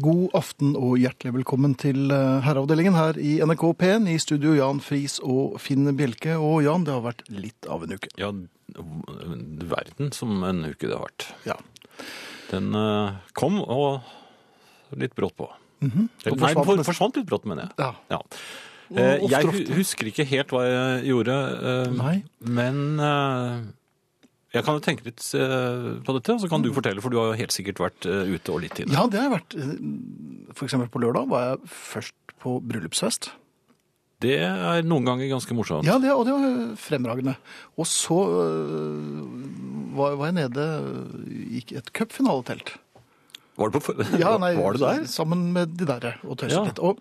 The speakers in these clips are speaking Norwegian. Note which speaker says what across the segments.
Speaker 1: God aften og hjertelig velkommen til eh, herreavdelingen her i NRK P1. I studio Jan Friis og Finn Bjelke. Og Jan, det har vært litt av en uke.
Speaker 2: Ja, du verden som en uke det har vært.
Speaker 1: Ja.
Speaker 2: Den eh, kom og litt brått på. Eller,
Speaker 1: Og Mhm.
Speaker 2: Nei,
Speaker 1: forsvant
Speaker 2: den for,
Speaker 1: nesten.
Speaker 2: forsvant litt brått, mener jeg.
Speaker 1: Ja.
Speaker 2: Ja. Eh,
Speaker 1: ofte,
Speaker 2: jeg
Speaker 1: ofte.
Speaker 2: hu- husker ikke helt hva jeg gjorde, eh,
Speaker 1: Nei.
Speaker 2: men eh, jeg kan jo tenke litt eh, på dette, og så kan du fortelle, for du har jo helt sikkert vært eh, ute og litt tidlig.
Speaker 1: Mm. ja, det har jeg vært. eh, For eksempel på lørdag var jeg først på bryllupsfest.
Speaker 2: Det er noen ganger ganske morsomt.
Speaker 1: Ja, det, og det var fremragende. Og så øh, var, var jeg nede i et cupfinaletelt.
Speaker 2: Var, det på, for-
Speaker 1: Ja, nei,
Speaker 2: var det der?
Speaker 1: Sammen med de derre og tøyset
Speaker 2: Ja.
Speaker 1: litt. Og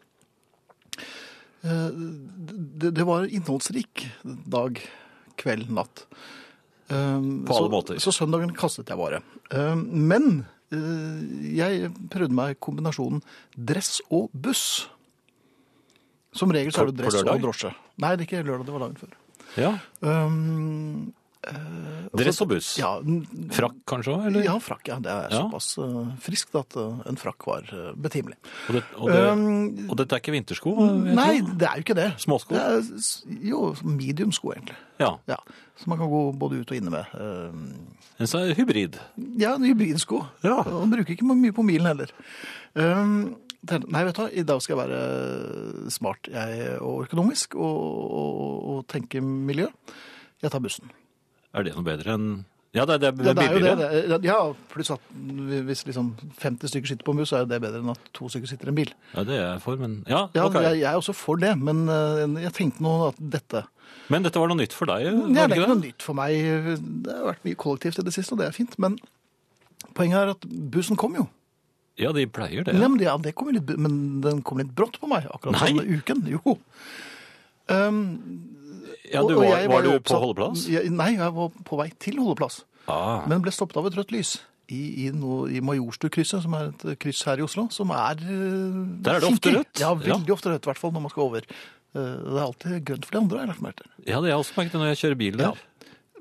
Speaker 1: øh, det, det var innholdsrik dag, kveld, natt. Um,
Speaker 2: På alle
Speaker 1: så,
Speaker 2: måter.
Speaker 1: Så søndagen kastet jeg bare. Um, men øh, jeg prøvde meg kombinasjonen dress og buss. Som regel så
Speaker 2: På-
Speaker 1: er det
Speaker 2: på
Speaker 1: dress og
Speaker 2: lørdag?
Speaker 1: drosje. Nei, det er ikke lørdag, det var dagen før.
Speaker 2: Ja.
Speaker 1: Um, eh,
Speaker 2: Dress
Speaker 1: altså,
Speaker 2: og buss.
Speaker 1: Ja, n-
Speaker 2: Frakk kanskje òg, eller?
Speaker 1: ja, frakk. Ja, det er
Speaker 2: Ja.
Speaker 1: såpass eh, friskt at eh, en frakk var eh, betimelig.
Speaker 2: Og, det, og, det,
Speaker 1: Um,
Speaker 2: og dette er ikke vintersko? eh, vet
Speaker 1: Nei,
Speaker 2: du?
Speaker 1: det er jo ikke det.
Speaker 2: Småsko?
Speaker 1: Det er, s- jo, medium sko, egentlig.
Speaker 2: Ja.
Speaker 1: Ja, Så man kan gå både ut og inne med. Eh,
Speaker 2: En sånn hybrid.
Speaker 1: ja, en hybridsko.
Speaker 2: Ja.
Speaker 1: Og Man bruker ikke mye på milen heller. Um, tenkte, nei, vet du hva, i dag skal jeg være eh, smart jeg, og økonomisk og, og, og tenke miljø. Jeg tar bussen.
Speaker 2: Er det noe bedre enn Ja, det, det er
Speaker 1: Ja,
Speaker 2: billigere.
Speaker 1: det er jo det. det er, ja, pluss at hvis liksom 50 stykker sitter på en buss, så er jo det bedre enn at to stykker sitter i en bil.
Speaker 2: Ja, det er jeg for, men Ja,
Speaker 1: Ja,
Speaker 2: ok.
Speaker 1: jeg, jeg er også for det, men eh, jeg tenkte nå at dette
Speaker 2: Men dette var noe nytt for deg?
Speaker 1: Det
Speaker 2: var
Speaker 1: er
Speaker 2: det
Speaker 1: ikke
Speaker 2: ikke
Speaker 1: noe nytt for meg. Det har vært mye kollektivt i det siste, og det er fint. Men poenget er at bussen kom jo.
Speaker 2: det? Ja, de pleier det.
Speaker 1: Ja, men, det- ja, det kom jo litt, men den kom litt brått på meg akkurat
Speaker 2: Nei.
Speaker 1: denne uken. Jo. Um,
Speaker 2: Ja, du
Speaker 1: og- og
Speaker 2: var,
Speaker 1: jeg
Speaker 2: var du
Speaker 1: jo
Speaker 2: på
Speaker 1: oppsatt-
Speaker 2: holdeplass?
Speaker 1: Ja, nei, jeg var på vei til holdeplass.
Speaker 2: Ah.
Speaker 1: Men ble stoppet av et rødt lys i, i, noe, i Majorstukrysset, som er et kryss her i Oslo, som er eh,
Speaker 2: Der er det ofte
Speaker 1: kinkig.
Speaker 2: rødt.
Speaker 1: Ja, veldig ofte rødt, i hvert fall når man skal over. Eh, Det er alltid grønt for de andre, har jeg lagt merke til.
Speaker 2: Ja, det har jeg også merket når jeg kjører bil der.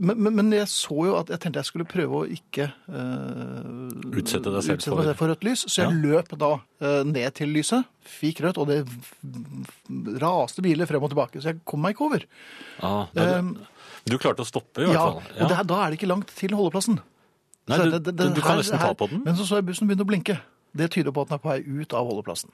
Speaker 1: Men, men, men jeg så jo at jeg tenkte jeg skulle prøve å ikke eh,
Speaker 2: Utsette deg selv
Speaker 1: utsette meg
Speaker 2: for-
Speaker 1: selv for rødt lys, så jeg løp da eh, ned til lyset, fikk rødt, og det v- raste biler frem og tilbake, så jeg kom meg ikke over.
Speaker 2: Ah, ja, du-
Speaker 1: Um,
Speaker 2: du klarte å stoppe, i hvert fall.
Speaker 1: og det, er- da er det ikke langt til holdeplassen.
Speaker 2: Nei,
Speaker 1: Så
Speaker 2: du,
Speaker 1: det- det- det-
Speaker 2: du kan
Speaker 1: her-
Speaker 2: nesten
Speaker 1: her-
Speaker 2: ta på den.
Speaker 1: Men så så jeg bussen begynne å blinke. Det tyder på at den er på vei ut av holdeplassen.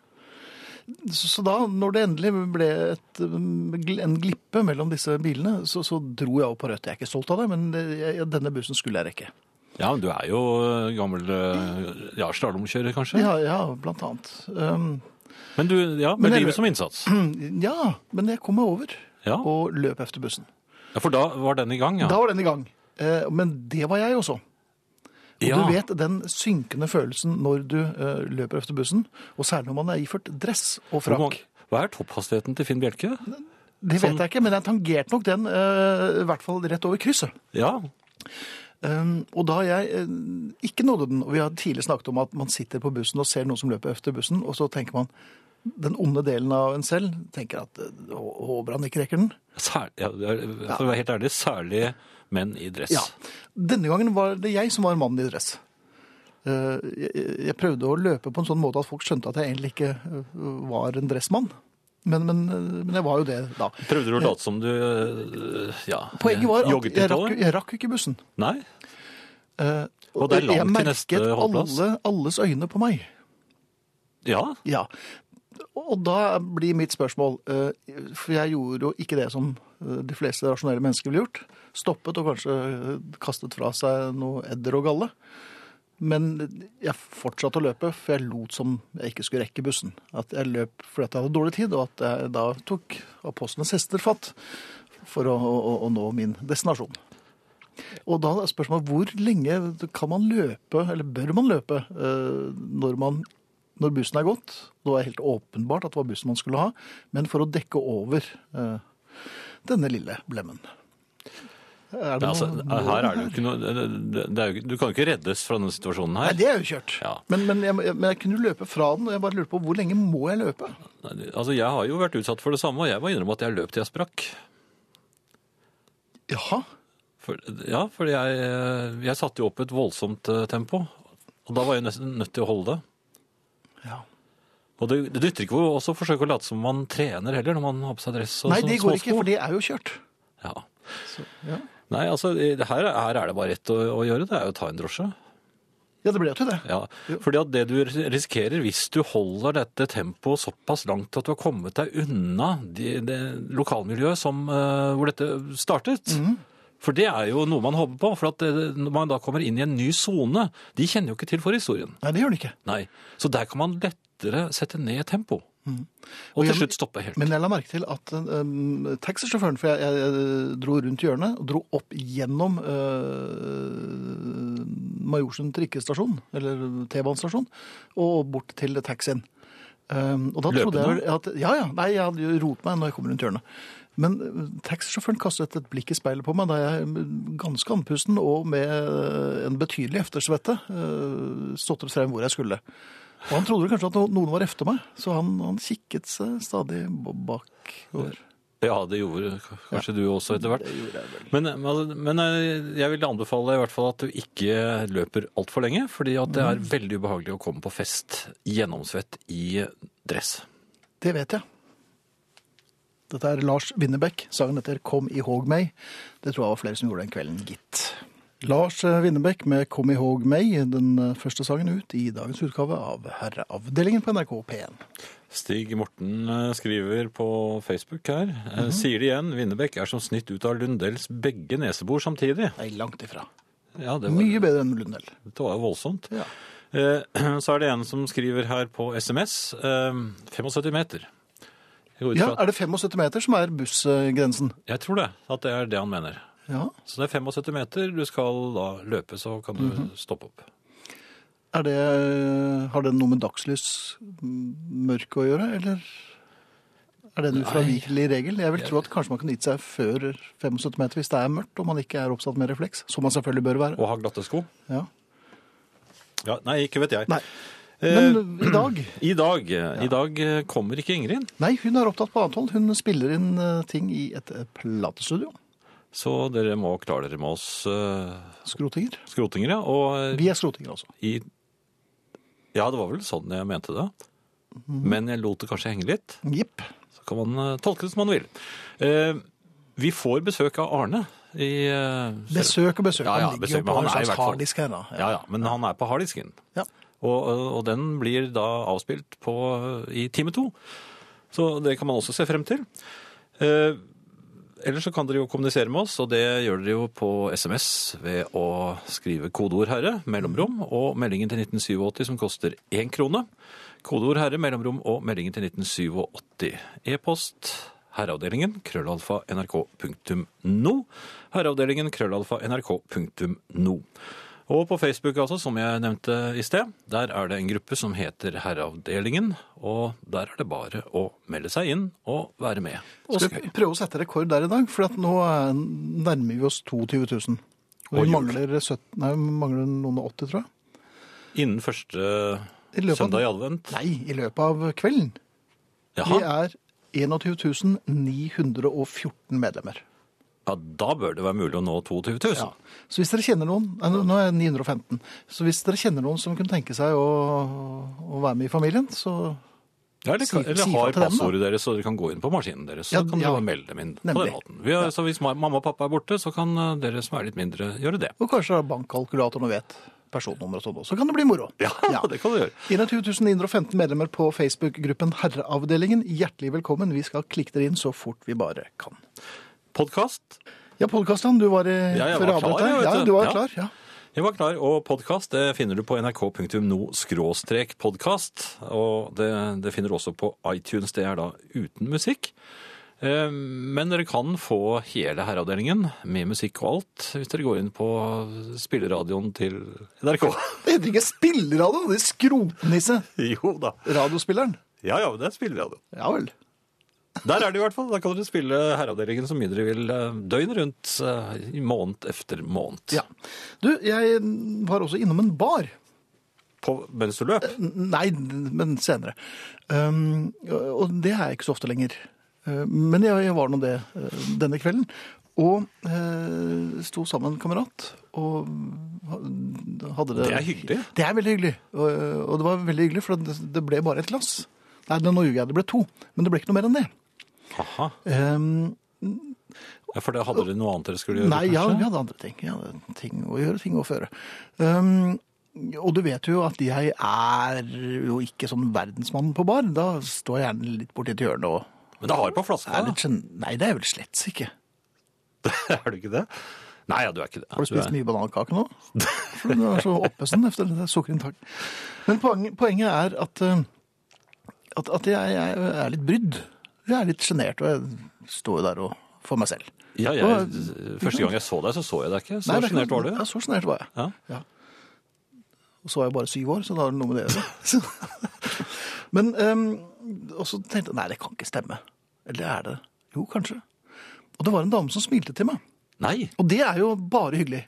Speaker 1: Så, så da, når det endelig ble et, um, gl- en glippe mellom disse bilene, så, så dro jeg opp på rødt. Jeg er ikke stolt av det, men det- jeg, denne bussen skulle jeg rekke.
Speaker 2: Ja, men du er jo eh, gammel eh, ja, slalåmkjører, kanskje?
Speaker 1: Ja, ja blant annet. Um,
Speaker 2: Men du, ja,
Speaker 1: Men
Speaker 2: med
Speaker 1: jeg- Mm.
Speaker 2: livet som innsats.
Speaker 1: ja, men jeg kom meg over
Speaker 2: Ja.
Speaker 1: og løp efter bussen.
Speaker 2: ja, for da var den i gang, ja.
Speaker 1: Da var den i gang. Eh, Men det var jeg også. Og
Speaker 2: ja.
Speaker 1: Du vet den synkende følelsen når du eh, løper efter bussen, og særlig når man er iført dress og
Speaker 2: Hvor
Speaker 1: frakk.
Speaker 2: mange- Hva er topphastigheten til Finn Bjelke?
Speaker 1: Det vet jeg ikke, men den tangerte nok den, eh, i hvert fall rett over krysset.
Speaker 2: Ja,
Speaker 1: Um, og da jeg eh, ikke nådde den, og vi har tidlig snakket om at man sitter på bussen og ser noen som løper efter bussen, og så tenker man, den onde delen av en selv, tenker at eh, hå- håper han ikke rekker den.
Speaker 2: Sær, ja, det er- for å være helt ærlig, særlig menn i dress.
Speaker 1: Ja. Denne gangen var det jeg som var mannen i dress. Eh, Jeg jeg prøvde å løpe på en sånn måte at folk skjønte at jeg egentlig ikke eh, var en dressmann. Men, men, eh, men jeg var jo det da.
Speaker 2: Prøvde du å late som du øh, ja,
Speaker 1: Poenget var at
Speaker 2: jogget
Speaker 1: jeg
Speaker 2: litt
Speaker 1: rakk,
Speaker 2: over?
Speaker 1: jo- jeg rakk jo ikke bussen.
Speaker 2: Nei?
Speaker 1: Eh,
Speaker 2: Og det er langt
Speaker 1: jeg
Speaker 2: til
Speaker 1: merket
Speaker 2: neste holdeplass.
Speaker 1: Alle, alles øyne på meg.
Speaker 2: Ja.
Speaker 1: Ja. Og da blir mitt spørsmål, eh, for jeg gjorde jo ikke det som eh, de fleste rasjonelle mennesker ville gjort. Stoppet og kanskje eh, kastet fra seg noe edder og galle. Men jeg fortsatte å løpe, for jeg lot som jeg ikke skulle rekke bussen. At jeg løp fordi at jeg hadde dårlig tid, og at jeg da tok apostlenes hester fatt for å, å, å nå min destinasjon. Og da er spørsmålet hvor lenge kan man løpe, eller bør man løpe, eh, når, man, når bussen er gått? Det var helt åpenbart at det var bussen man skulle ha, men for å dekke over eh, denne lille blemmen. Er
Speaker 2: Ja, altså,
Speaker 1: noe-
Speaker 2: her er det jo ikke noe det- det er jo, ikke- Du kan jo ikke reddes fra denne situasjonen
Speaker 1: Nei,
Speaker 2: her.
Speaker 1: det er jo kjørt.
Speaker 2: Ja.
Speaker 1: Men, men, jeg, men jeg kunne jo løpe fra den, og jeg bare lurte på hvor lenge må jeg løpe?
Speaker 2: Altså, Jeg har jo vært utsatt for det samme, og jeg må innrømme at jeg løp til jeg sprakk.
Speaker 1: Jaha.
Speaker 2: For, ja, for jeg, øh, jeg satte jo opp et voldsomt eh, tempo. Og da var jeg nesten nødt til å holde det.
Speaker 1: Ja.
Speaker 2: Og det, det dytter ikke å også forsøke å late som man trener heller, når man har på sånn seg dress og
Speaker 1: Nei,
Speaker 2: så-
Speaker 1: det går ikke,
Speaker 2: småsko.
Speaker 1: for det er jo kjørt.
Speaker 2: Ja.
Speaker 1: Så, ja.
Speaker 2: Nei, altså, det her, her er det bare rett å, å gjøre, det er jo å ta en drosje.
Speaker 1: ja, det ble jo til det.
Speaker 2: Ja, fordi at det du risikerer hvis du holder dette tempoet såpass langt at du har kommet deg unna de, det lokalmiljøet som, eh, hvor dette startet.
Speaker 1: Mhm.
Speaker 2: For det er jo noe man håper på, for at det, når man da kommer inn i en ny zone, de kjenner jo ikke til forhistorien.
Speaker 1: Nei, det gjør det ikke.
Speaker 2: Nei, så der kan man lettere sette ned tempo. Og,
Speaker 1: Og
Speaker 2: til
Speaker 1: jeg-
Speaker 2: slutt stoppe helt.
Speaker 1: Mhm. Men jeg la merke til at eh, taxisjåføren, for jeg, jeg, eh, dro rundt hjørnet og dro opp gjennom uh, Majorsen trikkestasjon, eller T-banestasjon, og bort til taxien. Um, og da trodde jeg vel at, ja, ja, nei, jeg hadde jo rotet meg når jeg kom rundt hjørnet. Men eh, taxisjåføren kastet et blikk i speilet på meg da jeg eh, ganske andpusten og med eh, en betydelig eftersvette eh, stått frem hvor jeg skulle. Og han trodde vel kanskje at no- noen var efter meg, så han, han kikket seg stadig b- bakover.
Speaker 2: Ja, det gjorde k- kanskje du også etter hvert. Men, men- men eh, jeg vil anbefale i hvert fall at du ikke løper altfor lenge, fordi at det
Speaker 1: Mm.
Speaker 2: er veldig ubehagelig å komme på fest gjennomsvett i dress.
Speaker 1: Det vet jeg. Dette er Lars Winnebekk. Sangen heter 'Kom i håg meg'. Det tror jeg var flere som gjorde den kvelden, gitt. Lars Winnebekk med 'Kom i håg meg', den eh, første sangen ut i dagens utgave av Herreavdelingen på NRK P1.
Speaker 2: Stig Morten eh, skriver på Facebook her. eh,
Speaker 1: Mhm.
Speaker 2: Sier det igjen, Winnebekk er som snitt ut av Lundells begge nesebor samtidig.
Speaker 1: Nei, langt ifra.
Speaker 2: Ja, det var,
Speaker 1: Mye bedre enn Lundell.
Speaker 2: det var jo voldsomt.
Speaker 1: Ja.
Speaker 2: Eh, Så er det en som skriver her på SMS. eh, 75 meter. Jeg, går ut
Speaker 1: ja,
Speaker 2: fra at-
Speaker 1: er det 75 meter som er bussgrensen?
Speaker 2: jeg tror det, at det er det han mener.
Speaker 1: Ja.
Speaker 2: Så det er 75 meter. Du skal da løpe, så kan du
Speaker 1: Mhm.
Speaker 2: stoppe opp.
Speaker 1: Er det, har det noe med dagslys m, mørke å gjøre, eller er det en ufravikelig regel? Jeg vil tro at kanskje man kunne gitt seg før 75 meter hvis det er mørkt og man ikke er oppsatt med refleks, som man selvfølgelig bør være.
Speaker 2: Og ha glatte sko.
Speaker 1: Ja.
Speaker 2: Ja, nei, ikke vet jeg.
Speaker 1: Nei.
Speaker 2: Eh,
Speaker 1: Men i dag
Speaker 2: I dag, I dag eh, kommer ikke Ingrid,
Speaker 1: Nei, hun er opptatt på annet hold. Hun spiller inn eh, ting i et eh, platestudio.
Speaker 2: så dere må klare dere med oss eh,
Speaker 1: Skrotinger.
Speaker 2: skrotinger, ja. Og eh,
Speaker 1: Vi er skrotinger, altså.
Speaker 2: i Ja, det var vel sånn jeg mente det.
Speaker 1: Mhm.
Speaker 2: Men jeg lot det kanskje henge litt.
Speaker 1: Jepp.
Speaker 2: Så kan man eh, tolke det som man vil. Eh, vi får besøk av Arne i eh,
Speaker 1: Besøk og besøk.
Speaker 2: Ja, ja,
Speaker 1: han ligger
Speaker 2: besøk,
Speaker 1: jo
Speaker 2: men
Speaker 1: på
Speaker 2: han
Speaker 1: en
Speaker 2: er i hvert
Speaker 1: slags
Speaker 2: fall-
Speaker 1: harddisk her, da.
Speaker 2: Ja, ja, men han er på harddisken.
Speaker 1: Ja.
Speaker 2: Og, og den blir da avspilt på, i time to. Så det kan man også se frem til. Eh, ellers så kan dere jo kommunisere med oss, og det gjør dere jo på SMS ved å skrive kodeord 'herre', mellomrom, og meldingen til 1987 som koster én krone. Kodeord 'herre', mellomrom og meldingen til 1987. E-post herreavdelingen krøllalfa nrk.no. Herreavdelingen krøllalfa nrk.no. Og på Facebook, altså, som jeg nevnte i sted, der er det en gruppe som heter Herreavdelingen. Og der er det bare å melde seg inn og være med.
Speaker 1: Og
Speaker 2: Skal-
Speaker 1: skal prøve å sette rekord der i dag, for at nå eh, nærmer vi oss 22 000. Og
Speaker 2: Og
Speaker 1: vi
Speaker 2: jul.
Speaker 1: mangler, 17, nei, vi mangler noen og 80, tror jeg.
Speaker 2: Innen første
Speaker 1: I løpet av-
Speaker 2: søndag i advent?
Speaker 1: Nei, i løpet av kvelden. Vi
Speaker 2: Jaha,
Speaker 1: er 21 914 medlemmer.
Speaker 2: ja, da bør det være mulig å nå 22
Speaker 1: Ja.
Speaker 2: 000.
Speaker 1: Så hvis dere kjenner noen, nei, nå- nå er jeg 915, så hvis dere kjenner noen som kunne tenke seg å, å være med i familien, så
Speaker 2: Ja, eller,
Speaker 1: Si-
Speaker 2: eller
Speaker 1: si fra
Speaker 2: har
Speaker 1: til dem, da.
Speaker 2: passordet deres, så dere kan gå inn på maskinen deres.
Speaker 1: Ja,
Speaker 2: Så kan dere
Speaker 1: ja.
Speaker 2: bare melde dem inn på
Speaker 1: Nemlig.
Speaker 2: den måten. Vi har, Så hvis ma- mamma og pappa er borte, så kan eh, dere som er litt mindre, gjøre det.
Speaker 1: Og kanskje har bankkalkulatoren og vet personnummer og sånn også. Så kan det bli moro.
Speaker 2: Ja, det kan dere gjøre.
Speaker 1: 21 915 medlemmer på Facebook-gruppen Herreavdelingen. Hjertelig velkommen. Vi skal klikke dere inn så fort vi bare kan.
Speaker 2: Podkast.
Speaker 1: Ja, Polkastan, du var i
Speaker 2: Ja, jeg
Speaker 1: før
Speaker 2: var klar,
Speaker 1: avbrøt her.
Speaker 2: jeg, vet
Speaker 1: Ja,
Speaker 2: du.
Speaker 1: du var
Speaker 2: Ja.
Speaker 1: klar, ja.
Speaker 2: Jeg var klar, og podkast det finner du på nrk.no-podkast. Og det, det finner du også på iTunes. Det er da uten musikk. Eh, Men dere kan få hele herreavdelingen med musikk og alt hvis dere går inn på spilleradioen til NRK.
Speaker 1: Det heter ikke spilleradio, det er skrotnisse.
Speaker 2: Jo da.
Speaker 1: Radiospilleren.
Speaker 2: Ja ja, det er spilleradio.
Speaker 1: Ja vel.
Speaker 2: Der er det i hvert fall. Da kan dere spille herreavdelingen så mye dere vil eh, døgnet rundt, eh, i måned etter måned.
Speaker 1: Ja. Du, jeg var også innom en bar.
Speaker 2: På, mens du løp.
Speaker 1: N- Nei, men senere. Um, og det er jeg ikke så ofte lenger. Uh, Men jeg, jeg var nå det uh, denne kvelden. Og uh, sto sammen med en kamerat og ha- hadde det
Speaker 2: Det er hyggelig.
Speaker 1: Det er veldig hyggelig. Og, og det var veldig hyggelig, for det, det ble bare et glass. Nei, nå ljuger jeg, det ble to. Men det ble ikke noe mer enn det.
Speaker 2: Aha.
Speaker 1: Ehm,
Speaker 2: Ja, for det hadde dere noe annet dere skulle gjøre,
Speaker 1: nei, ja,
Speaker 2: kanskje?
Speaker 1: vi hadde andre ting. Vi hadde ting å gjøre, ting å føre. Ehm, og du vet jo at jeg er jo ikke sånn verdensmann på bar. Da står jeg gjerne litt borti et hjørne og
Speaker 2: Men det har du på flaska,
Speaker 1: er
Speaker 2: da.
Speaker 1: litt skjen... Nei, det er jeg vel slett ikke.
Speaker 2: er du ikke det? Nei, ja, du er ikke det.
Speaker 1: Har du
Speaker 2: Du er-
Speaker 1: spist mye banankake nå? For du er så oppesen efter det der sukkerinntaket. Men poenget, poenget er at, eh, at, at jeg, jeg er litt brydd. Jeg er litt sjenert, og jeg står jo der og for meg selv.
Speaker 2: Ja,
Speaker 1: Og-
Speaker 2: jeg, første gang jeg så deg, så så jeg deg ikke. Så
Speaker 1: Nei, det er ikke
Speaker 2: sjenert
Speaker 1: noe-
Speaker 2: var du.
Speaker 1: Ja, så sjenert var jeg.
Speaker 2: Ja.
Speaker 1: Og så var jeg bare syv år, så da er det noe med det. å gjøre. Så- Men eh, og så tenkte jeg, nei, det kan ikke stemme. Eller er det? Jo, kanskje. Og det var en dame som smilte til meg.
Speaker 2: Nei!
Speaker 1: Og det er jo bare hyggelig.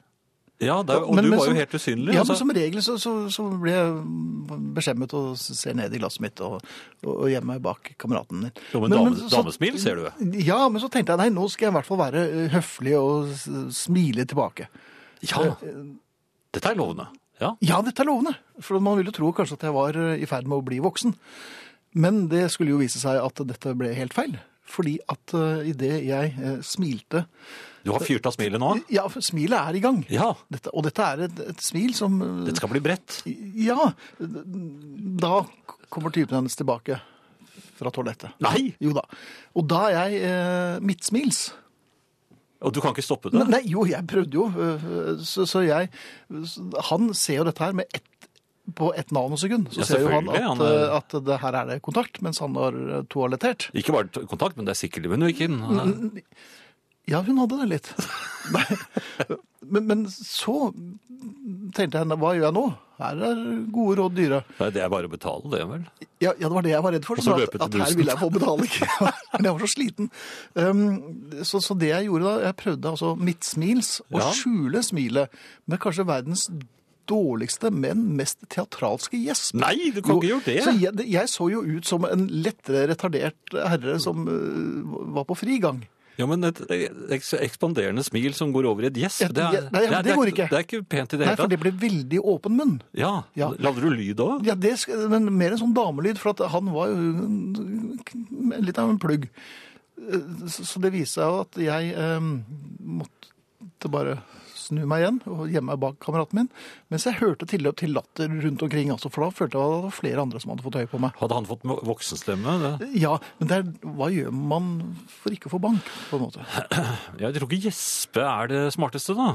Speaker 2: Ja, det, og
Speaker 1: Men-
Speaker 2: du
Speaker 1: men
Speaker 2: var
Speaker 1: som-
Speaker 2: jo helt usynlig.
Speaker 1: Ja,
Speaker 2: altså.
Speaker 1: men som regel så, så, så blir jeg beskjemmet og ser ned i glasset mitt og, og, og gjemmer meg bak kameraten din.
Speaker 2: Jo, men dame- damesmil ser du.
Speaker 1: Ja, men så tenkte jeg nei, nå skal jeg i hvert fall være eh, høflig og s- smile tilbake.
Speaker 2: ja. Dette er lovende. Ja.
Speaker 1: Ja, dette er lovende, for man ville tro kanskje at jeg var eh, i ferd med å bli voksen. Men det skulle jo vise seg at dette ble helt feil. Fordi at uh, idet jeg eh, smilte
Speaker 2: Du har fyrt av smilet nå.
Speaker 1: Ja, for smilet er i gang.
Speaker 2: Ja.
Speaker 1: Dette, og dette er et, et smil som eh,
Speaker 2: Dette skal bli bredt.
Speaker 1: Ja, da kommer typen hennes tilbake fra toalettet.
Speaker 2: Nei!
Speaker 1: Jo da. Og da er jeg eh, midtsmils.
Speaker 2: Og du kan ikke stoppe det.
Speaker 1: Men, nei, jo, jeg prøvde jo. eh, Så, så jeg Han ser jo dette her med ett på ett nanosekund. Så
Speaker 2: Ja,
Speaker 1: ser jo han at,
Speaker 2: selvfølgelig, han er-
Speaker 1: eh, at det her er det kontakt, mens han har eh, toalettert.
Speaker 2: Ikke bare t- kontakt, men det er sikkert men du gikk inn.
Speaker 1: Ja, hun hadde det litt. Nei. Men, men så tenkte jeg, hva gjør jeg nå? Her er gode råd dyre.
Speaker 2: Nei, det er bare å betale, det vel.
Speaker 1: Ja, ja, det var det jeg var redd for.
Speaker 2: Og så
Speaker 1: at,
Speaker 2: løpe til
Speaker 1: at her
Speaker 2: bussen.
Speaker 1: ville jeg få betaling. Men jeg var så sliten. Um, så, så det jeg gjorde da, jeg prøvde altså midtsmils å
Speaker 2: Ja.
Speaker 1: skjule smilet med kanskje verdens dårligste, men mest teatralske gjesp.
Speaker 2: Nei, du kan ikke gjøre
Speaker 1: Så
Speaker 2: det!
Speaker 1: jeg, det- jeg så jo ut som en lettere retardert herre som øh, var på frigang.
Speaker 2: Ja, men et eks ekspanderende smil som går over i et gjesp,
Speaker 1: Et
Speaker 2: det, er-
Speaker 1: gje- Nei, ja,
Speaker 2: det er-
Speaker 1: det går
Speaker 2: det er
Speaker 1: ikke.
Speaker 2: Det er ikke pent i det
Speaker 1: Nei,
Speaker 2: hele
Speaker 1: for
Speaker 2: tatt.
Speaker 1: det ble veldig åpen munn.
Speaker 2: Ja.
Speaker 1: Ja.
Speaker 2: Lagde du lyd òg?
Speaker 1: Ja, det, sk- men mer en sånn damelyd, for at han var jo en- en- litt av en plugg. Eh, Så så det viser seg jo at jeg eh, måtte bare snu meg igjen og gjemme meg bak kameraten min, mens jeg hørte tilløp til latter rundt omkring, altså, for da følte jeg at det var flere andre som hadde fått øye på meg.
Speaker 2: Hadde han fått mo- voksenstemme? Det?
Speaker 1: Ja, men det er, hva gjør man for ikke å få bank, på en måte?
Speaker 2: Jeg tror ikke gjespe er det smarteste, da.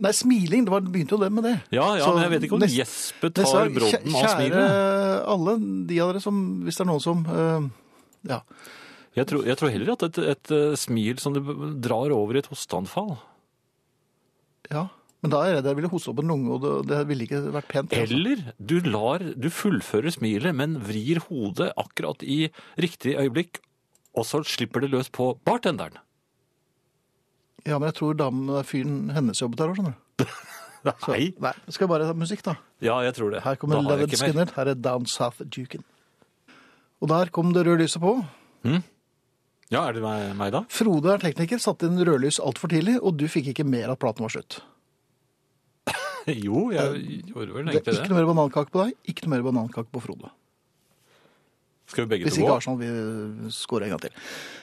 Speaker 1: Nei, smiling, det var, begynte jo det med det.
Speaker 2: Ja, ja,
Speaker 1: Så
Speaker 2: men jeg vet ikke om
Speaker 1: nest-
Speaker 2: gjespe
Speaker 1: Det sa-
Speaker 2: tar brodden av
Speaker 1: kjæ-
Speaker 2: smilet.
Speaker 1: Kjære alle de av dere som, hvis det er noen som eh, ja,
Speaker 2: Jeg tror, jeg tror heller at et, et eh, smil som du b- drar over i et hosteanfall,
Speaker 1: Ja, men da er jeg redd jeg ville hoste opp en lunge, og det, det ville ikke vært pent. altså.
Speaker 2: eller du lar Du fullfører smilet, men vrir hodet akkurat i riktig øyeblikk, og så slipper det løs på bartenderen.
Speaker 1: Ja, men jeg tror damen, fyren hennes jobbet der òg, skjønner du. Så-
Speaker 2: Nei.
Speaker 1: Nei, skal jeg bare ta musikk, da.
Speaker 2: Ja, jeg tror det.
Speaker 1: Altså, Her kommer
Speaker 2: Da har jeg
Speaker 1: Leonard
Speaker 2: ikke mer.
Speaker 1: Skinner. Her er Down South Duken. Og der kom det røde lyset på.
Speaker 2: Ja, er det meg, meg da?
Speaker 1: Frode er tekniker, satte inn rødlys altfor tidlig, og du fikk ikke mer at platen var slutt.
Speaker 2: Jo, jeg gjorde vel
Speaker 1: Eh, Det er
Speaker 2: egentlig
Speaker 1: ikke
Speaker 2: det.
Speaker 1: noe mer banankake på deg, ikke noe mer banankake på Frode.
Speaker 2: Skal vi begge
Speaker 1: Hvis
Speaker 2: to
Speaker 1: ikke
Speaker 2: gå?
Speaker 1: Arsenal vil score en gang til.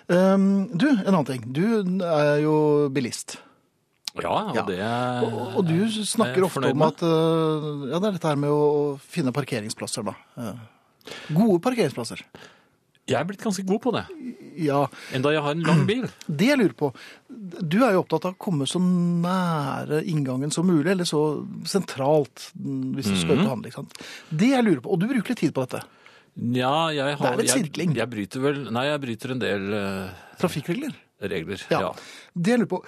Speaker 1: Um, du, en annen ting. Du er jo bilist.
Speaker 2: Ja, og
Speaker 1: Ja.
Speaker 2: det
Speaker 1: Og, og du
Speaker 2: Eh, er
Speaker 1: snakker
Speaker 2: jeg
Speaker 1: ofte
Speaker 2: fornøyd
Speaker 1: om
Speaker 2: med.
Speaker 1: at eh, ja, det er dette her med å å finne parkeringsplasser, da. Eh, Gode parkeringsplasser.
Speaker 2: Jeg er blitt ganske god på det.
Speaker 1: Ja,
Speaker 2: Enda jeg har en lang bil.
Speaker 1: det jeg lurer på. Du er jo opptatt av å komme så nære inngangen som mulig, eller så sentralt mm, hvis du skal ut
Speaker 2: Mhm.
Speaker 1: og handle. ikke sant? Det jeg lurer på, og du bruker litt tid på dette.
Speaker 2: Ja, jeg har,
Speaker 1: Det er en sirkling.
Speaker 2: Jeg, jeg bryter vel Nei, jeg bryter en del eh,
Speaker 1: Trafikkregler.
Speaker 2: regler.
Speaker 1: Ja.
Speaker 2: Ja.
Speaker 1: Det jeg lurer på,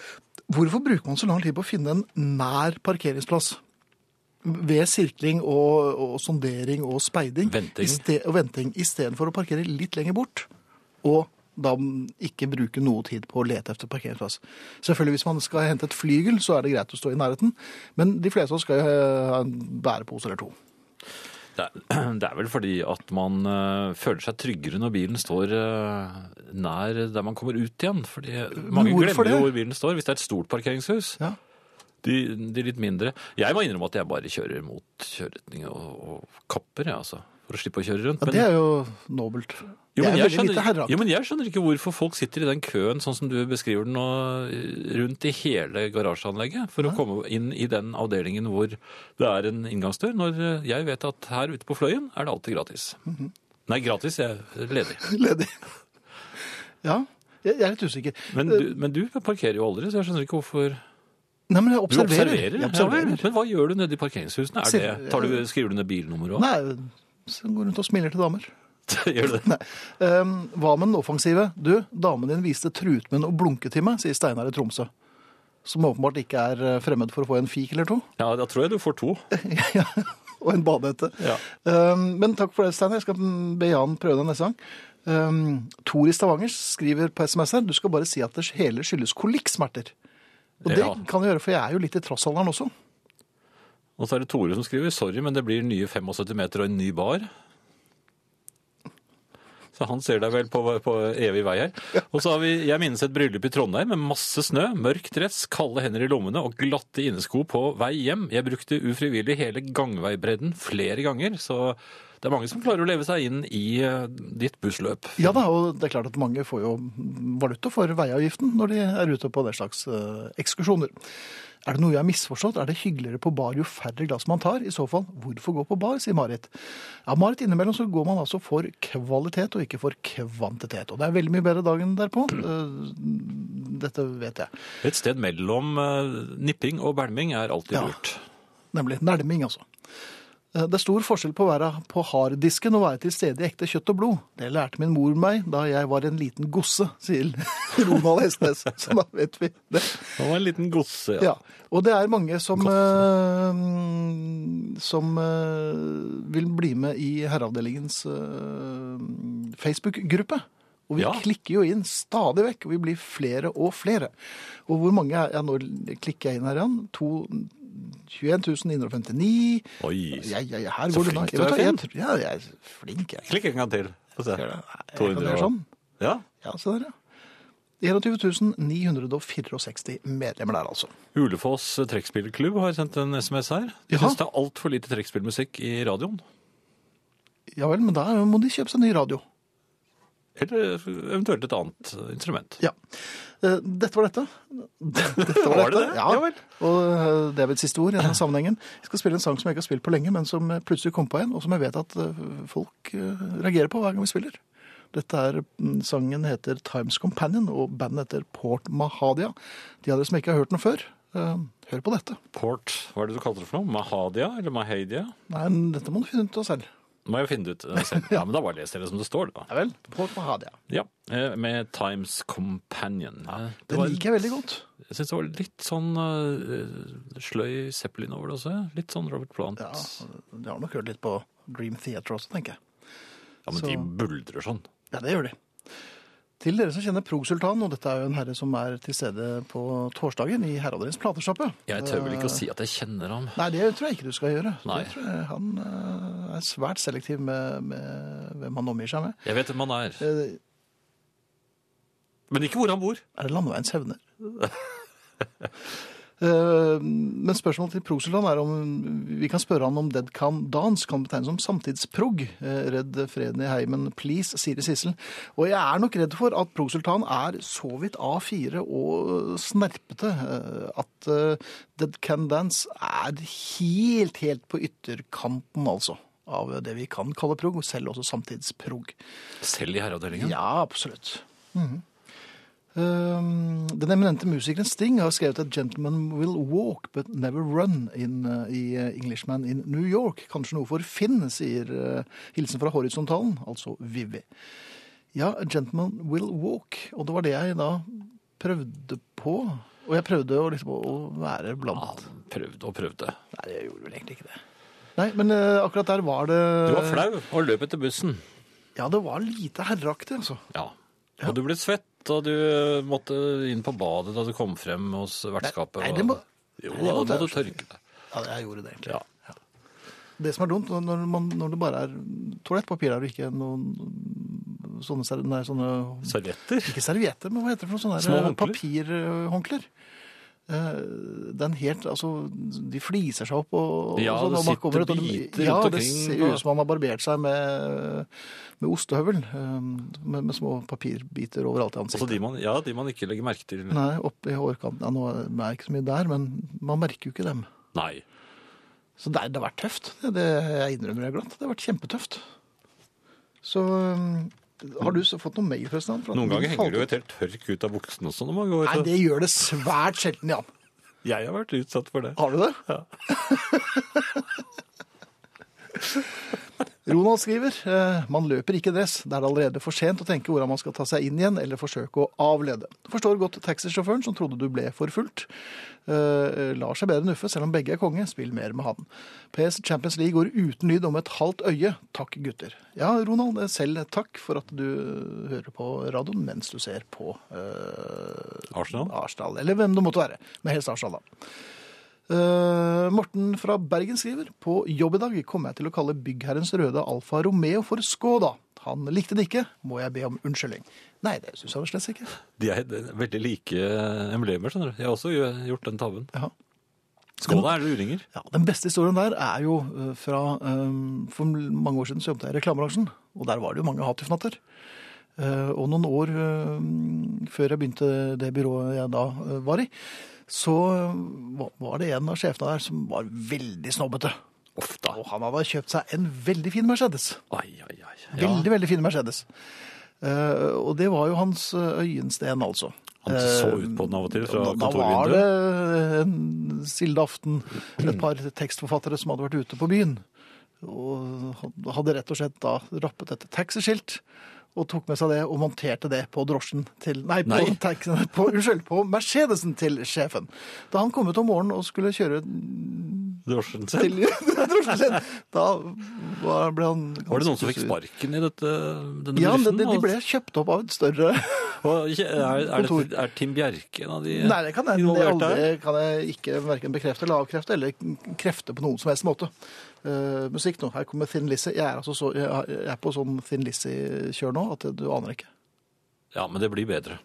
Speaker 1: hvorfor bruker man så lang tid på å finne en nær parkeringsplass? Ved sirkling og, og sondering og speiding.
Speaker 2: Venting.
Speaker 1: i ste- og venting. Istedenfor å parkere litt lenger bort. Og da ikke bruke noe tid på å lete etter parkeringsplass. Selvfølgelig Hvis man skal hente et flygel, så er det greit å stå i nærheten. Men de fleste av oss skal jo ha en bærepose eller to.
Speaker 2: Det, er, det er vel fordi at man eh, føler seg tryggere når bilen står eh, nær der man kommer ut igjen. Fordi mange
Speaker 1: hvorfor
Speaker 2: glemmer jo
Speaker 1: det?
Speaker 2: hvor bilen står hvis det er et stort parkeringshus.
Speaker 1: Ja.
Speaker 2: De, de litt mindre. Jeg må innrømme at jeg bare kjører mot kjøreretning og, og kapper, jeg, altså. for å slippe å kjøre rundt.
Speaker 1: Ja, det er jo nobelt.
Speaker 2: jo, men
Speaker 1: det er veldig
Speaker 2: jeg
Speaker 1: lite
Speaker 2: skjønner,
Speaker 1: herreakt.
Speaker 2: jo, men jeg skjønner ikke hvorfor folk sitter i den køen sånn som du beskriver den nå, rundt i hele garasjeanlegget for å komme inn i den avdelingen hvor det er en inngangsdør, når eh, jeg vet at her ute på fløyen er det alltid gratis.
Speaker 1: Mhm.
Speaker 2: Nei, gratis, jeg er ledig.
Speaker 1: Ledig. Ja, jeg jeg er litt usikker.
Speaker 2: Men du, men du parkerer jo aldri, så jeg skjønner ikke hvorfor
Speaker 1: Nei, men jeg
Speaker 2: Du
Speaker 1: observerer.
Speaker 2: observerer.
Speaker 1: Jeg
Speaker 2: Ja,
Speaker 1: observerer.
Speaker 2: vel. men hva gjør du nede i parkeringshusene? Er det, tar du, skriver du ned bilnummer òg?
Speaker 1: Nei, så går rundt og smiler til damer.
Speaker 2: Gjør du det?
Speaker 1: Nei. Ehm, hva med den offensive? Du, damen din viste trutmunn og blunke til meg, sier Steinar i Tromsø. Som åpenbart ikke er eh, fremmed for å få en fik eller to.
Speaker 2: Ja, da tror jeg du får to.
Speaker 1: Ja, og en badehette.
Speaker 2: Ja.
Speaker 1: Ehm, men takk for det, Steinar. Jeg skal be Jan prøve deg neste gang. Ehm, Tor i Stavanger skriver på SMS her du skal bare si at det hele skyldes kolikksmerter. Og det
Speaker 2: Ja.
Speaker 1: kan jeg gjøre, for jeg er jo litt i trassalderen også.
Speaker 2: Og så er det Tore som skriver 'sorry, men det blir nye 75 meter og en ny bar'. Så han ser deg vel på, på evig vei her. Og så har vi 'Jeg minnes et bryllup i Trondheim med masse snø, mørk dress, kalde hender i lommene og glatte innesko på vei hjem'. Jeg brukte ufrivillig hele gangveibredden flere ganger, så det er mange som klarer å leve seg inn i eh, ditt bussløp.
Speaker 1: Ja da, og det er klart at mange får jo valuta for veiavgiften når de er ute på den slags eh, ekskursjoner. Er det noe jeg har misforstått? Er det hyggeligere på bar jo færre glass man tar? I så fall, hvorfor gå på bar, sier Marit. Ja, Marit, innimellom så går man altså for kvalitet og ikke for kvantitet. Og det er veldig mye bedre dagen derpå. Eh, Dette vet jeg.
Speaker 2: Et sted mellom eh, nipping og bælming er alltid
Speaker 1: Ja.
Speaker 2: lurt.
Speaker 1: Nemlig nælming, altså. Eh, Det er stor forskjell på å være på harddisken og være til stede i ekte kjøtt og blod. Det lærte min mor meg da jeg var en liten gosse, sier Ronald Hestnes. Så da vet vi det.
Speaker 2: Han var en liten gosse, ja.
Speaker 1: Ja. Og det er mange som, eh, som eh, vil bli med i herreavdelingens eh, Facebook-gruppe. Og vi
Speaker 2: Ja.
Speaker 1: klikker jo inn stadig vekk, og vi blir flere og flere. Og hvor mange er ja, Nå klikker jeg inn her igjen. To- 21.959.
Speaker 2: Oi.
Speaker 1: Ja, ja, ja, her
Speaker 2: Så
Speaker 1: går det unna.
Speaker 2: flink
Speaker 1: Jeg
Speaker 2: du
Speaker 1: vet hva,
Speaker 2: er,
Speaker 1: Jeg, tror- ja, jeg er flink, jeg.
Speaker 2: Klikk en gang til. Få se.
Speaker 1: Gjør det. Jeg kan
Speaker 2: 200
Speaker 1: gjøre
Speaker 2: og-
Speaker 1: sånn.
Speaker 2: Ja.
Speaker 1: Ja, se der, ja. 21.964 medlemmer der, altså.
Speaker 2: Ulefoss trekkspillklubb har sendt en SMS her. De
Speaker 1: Jaha.
Speaker 2: syns det er altfor lite trekkspillmusikk i radioen.
Speaker 1: Ja vel, men da må de kjøpe seg ny radio.
Speaker 2: Eller eventuelt et annet instrument.
Speaker 1: Ja. Eh, Dette var dette. Dette
Speaker 2: Var det det?
Speaker 1: Ja.
Speaker 2: Ja vel.
Speaker 1: Og eh, det er vel siste ord i denne sammenhengen. Jeg skal spille en sang som jeg ikke har spilt på lenge, men som jeg plutselig kom på en, og som jeg vet at eh, folk eh, reagerer på hver gang vi spiller. Dette er, mm, Sangen heter Times Companion, og bandet heter Port Mahadia. De av dere som ikke har hørt den før, eh, hør på dette.
Speaker 2: Port, hva er det du kalte det for noe? Mahadia eller Mahadia?
Speaker 1: Nei, dette må du finne ut av selv.
Speaker 2: Må jeg finne det ut eh, selv. Ja, men da bare leser jeg det som det står, da.
Speaker 1: Ja vel. Port Mahadia.
Speaker 2: Ja, eh, Med Times Companion. Eh, Det
Speaker 1: Den
Speaker 2: var,
Speaker 1: liker jeg veldig godt.
Speaker 2: jeg syns det var litt sånn eh, sløy Zeppelin over det også. Litt sånn Robert Plant.
Speaker 1: Ja,
Speaker 2: Ja,
Speaker 1: De har nok hørt litt på Dream Theater også, tenker jeg.
Speaker 2: Men de
Speaker 1: så-
Speaker 2: buldrer sånn.
Speaker 1: Ja, det gjør de. Til dere som kjenner Prog-sultanen, og dette er jo en herre som er til stede på torsdagen i Herreavdelingens platesjappe.
Speaker 2: Jeg tør vel ikke å
Speaker 1: Eh,
Speaker 2: si at jeg kjenner ham.
Speaker 1: Nei, det tror jeg ikke du skal gjøre.
Speaker 2: Nei.
Speaker 1: Det tror jeg, han eh, er svært selektiv med, med hvem han omgir seg med.
Speaker 2: Jeg vet hvem han er,
Speaker 1: Eh,
Speaker 2: men ikke hvor han bor.
Speaker 1: Er det landeveiens hevner? Eh, Men spørsmålet til Progsultan er om vi kan spørre han om Dead Can Dance kan betegnes som samtidsprog. Eh, Redd freden i heimen, please, sier Sissel. Og jeg er nok redd for at Progsultan er så vidt A4 og snerpete eh, at eh, Dead Can Dance er helt, helt på ytterkanten, altså. Av det vi kan kalle prog, og selv også samtidsprog.
Speaker 2: Selv i herreavdelingen?
Speaker 1: Ja, absolutt. Um, den eminente musikeren Sting har skrevet at 'Gentlemen will walk, but never run' in, uh, i uh, 'Englishman in New York'. Kanskje noe for Finn, sier uh, hilsen fra horisontalen, altså Vivi. Ja, 'Gentlemen will walk', og det var det jeg da prøvde på. Og jeg prøvde å, liksom, å være blant
Speaker 2: Han prøvde og prøvde.
Speaker 1: Ah. Nei, jeg gjorde vel egentlig ikke det. Nei, men uh, akkurat der var det
Speaker 2: Du var flau og løp etter bussen.
Speaker 1: Ja, det var lite herreaktig, altså.
Speaker 2: Ja. Og du ble svett, og du eh, måtte inn på badet da du kom frem hos vertskapet.
Speaker 1: Nei,
Speaker 2: og-
Speaker 1: det må-
Speaker 2: Jo,
Speaker 1: nei, det
Speaker 2: da
Speaker 1: måtte
Speaker 2: må du
Speaker 1: jeg-
Speaker 2: tørke deg.
Speaker 1: Ja, jeg gjorde det egentlig.
Speaker 2: Ja.
Speaker 1: Det som er dumt, når, man, når det bare er toalettpapir her og ikke noen sånne, ser- nei, sånne
Speaker 2: Servietter?
Speaker 1: Ikke servietter, men hva heter det for noe sånne
Speaker 2: Små
Speaker 1: der
Speaker 2: håndklær?
Speaker 1: papirhåndklær? eh, den helt, altså, De fliser seg opp. Og, og
Speaker 2: Ja,
Speaker 1: sånn,
Speaker 2: det
Speaker 1: og man kommer ut, og
Speaker 2: sitter
Speaker 1: de-
Speaker 2: biter
Speaker 1: ja,
Speaker 2: rundt
Speaker 1: det
Speaker 2: omkring,
Speaker 1: ser
Speaker 2: og-
Speaker 1: ut som man har barbert seg med, med ostehøvel. eh, Med, med små papirbiter overalt i
Speaker 2: Altså
Speaker 1: ansiktet.
Speaker 2: de man, ja, de man ikke legger merke til.
Speaker 1: Nei, oppe i hårkanten. Ja, nå er det ikke så mye der, men man merker jo ikke dem.
Speaker 2: Nei.
Speaker 1: Så det, det har vært tøft. Det, det jeg innrømmer jeg glatt. Det har vært kjempetøft. Så um, har du så fått noe mail, forresten? Fra
Speaker 2: Noen ganger henger det jo et helt tørk ut av buksene også når man går.
Speaker 1: Nei,
Speaker 2: så-
Speaker 1: det gjør det svært sjelden, Jan.
Speaker 2: Jeg har vært utsatt for det.
Speaker 1: Har du det?
Speaker 2: Ja.
Speaker 1: Ronald skriver eh, man løper ikke dress. Det er allerede for sent å tenke hvordan man skal ta seg inn igjen eller forsøke å avlede. Forstår godt taxisjåføren som trodde du ble forfulgt. Eh, lar seg bedre nuffe, selv om begge er konge. Spill mer med han. PS Champions League går uten lyd om et halvt øye. Takk, gutter. Ja, Ronald, eh, selv takk for at du hører på radioen mens du ser på eh,
Speaker 2: Arsenal?
Speaker 1: Arsenal, eller hvem det måtte være. Men helst Arsenal, da. Eh, Morten fra Bergen skriver på jobb i dag kommer jeg til å kalle byggherrens røde Alfa Romeo for Skoda. Han likte det ikke, må jeg be om unnskyldning. Nei, det syns jeg vel slett ikke.
Speaker 2: De er veldig like eh, emblemer, skjønner du. Jeg har også gjort den tabben.
Speaker 1: Ja.
Speaker 2: Skåla er luringer.
Speaker 1: Ja, Den beste historien der er jo eh, fra eh, For mange år siden så jobbet jeg i reklamebransjen, og der var det jo mange hatufnatter. Eh, Og noen år eh, før jeg begynte det byrået jeg da eh, var i, så eh, var- var det en av sjefene der som var veldig snobbete.
Speaker 2: Ofte.
Speaker 1: Og han hadde kjøpt seg en veldig fin Mercedes.
Speaker 2: Ai, ai, ai. Ja.
Speaker 1: Veldig, veldig fin Mercedes. Eh, og det var jo hans eh, øyensten, altså. Eh,
Speaker 2: Han så ut på den av og til fra
Speaker 1: Da, da var det
Speaker 2: kontorvinduet.
Speaker 1: en silde aften et par tekstforfattere som hadde vært ute på byen. Og hadde rett og slett da rappet et taxiskilt og tok med seg det og monterte det på drosjen til Nei, på,
Speaker 2: Nei.
Speaker 1: taxien, på, unnskyld, på Mercedesen til sjefen. Da han kom ut om morgenen og skulle kjøre
Speaker 2: Drosjen
Speaker 1: til
Speaker 2: selv.
Speaker 1: drosjen sin, da var- ble han
Speaker 2: Var det noen som
Speaker 1: ganske
Speaker 2: fikk
Speaker 1: sur.
Speaker 2: sparken i dette, denne
Speaker 1: Ja, de,
Speaker 2: bedriften?
Speaker 1: de de ble kjøpt opp av et større
Speaker 2: Og ikke- er, er,
Speaker 1: Kontor.
Speaker 2: det, er Tim Bjerke en av de
Speaker 1: Nei, det kan jeg, det
Speaker 2: involverte
Speaker 1: aldri,
Speaker 2: her?
Speaker 1: kan jeg ikke hverken bekrefte eller avkrefte, eller k- krefte på noen som helst måte. Eh, musikk nå. Her kommer Thin Lizzie. Jeg er, altså så, jeg er- jeg er på sånn Thin Lizzie-kjør nå at du aner ikke.
Speaker 2: Ja, men det blir bedre.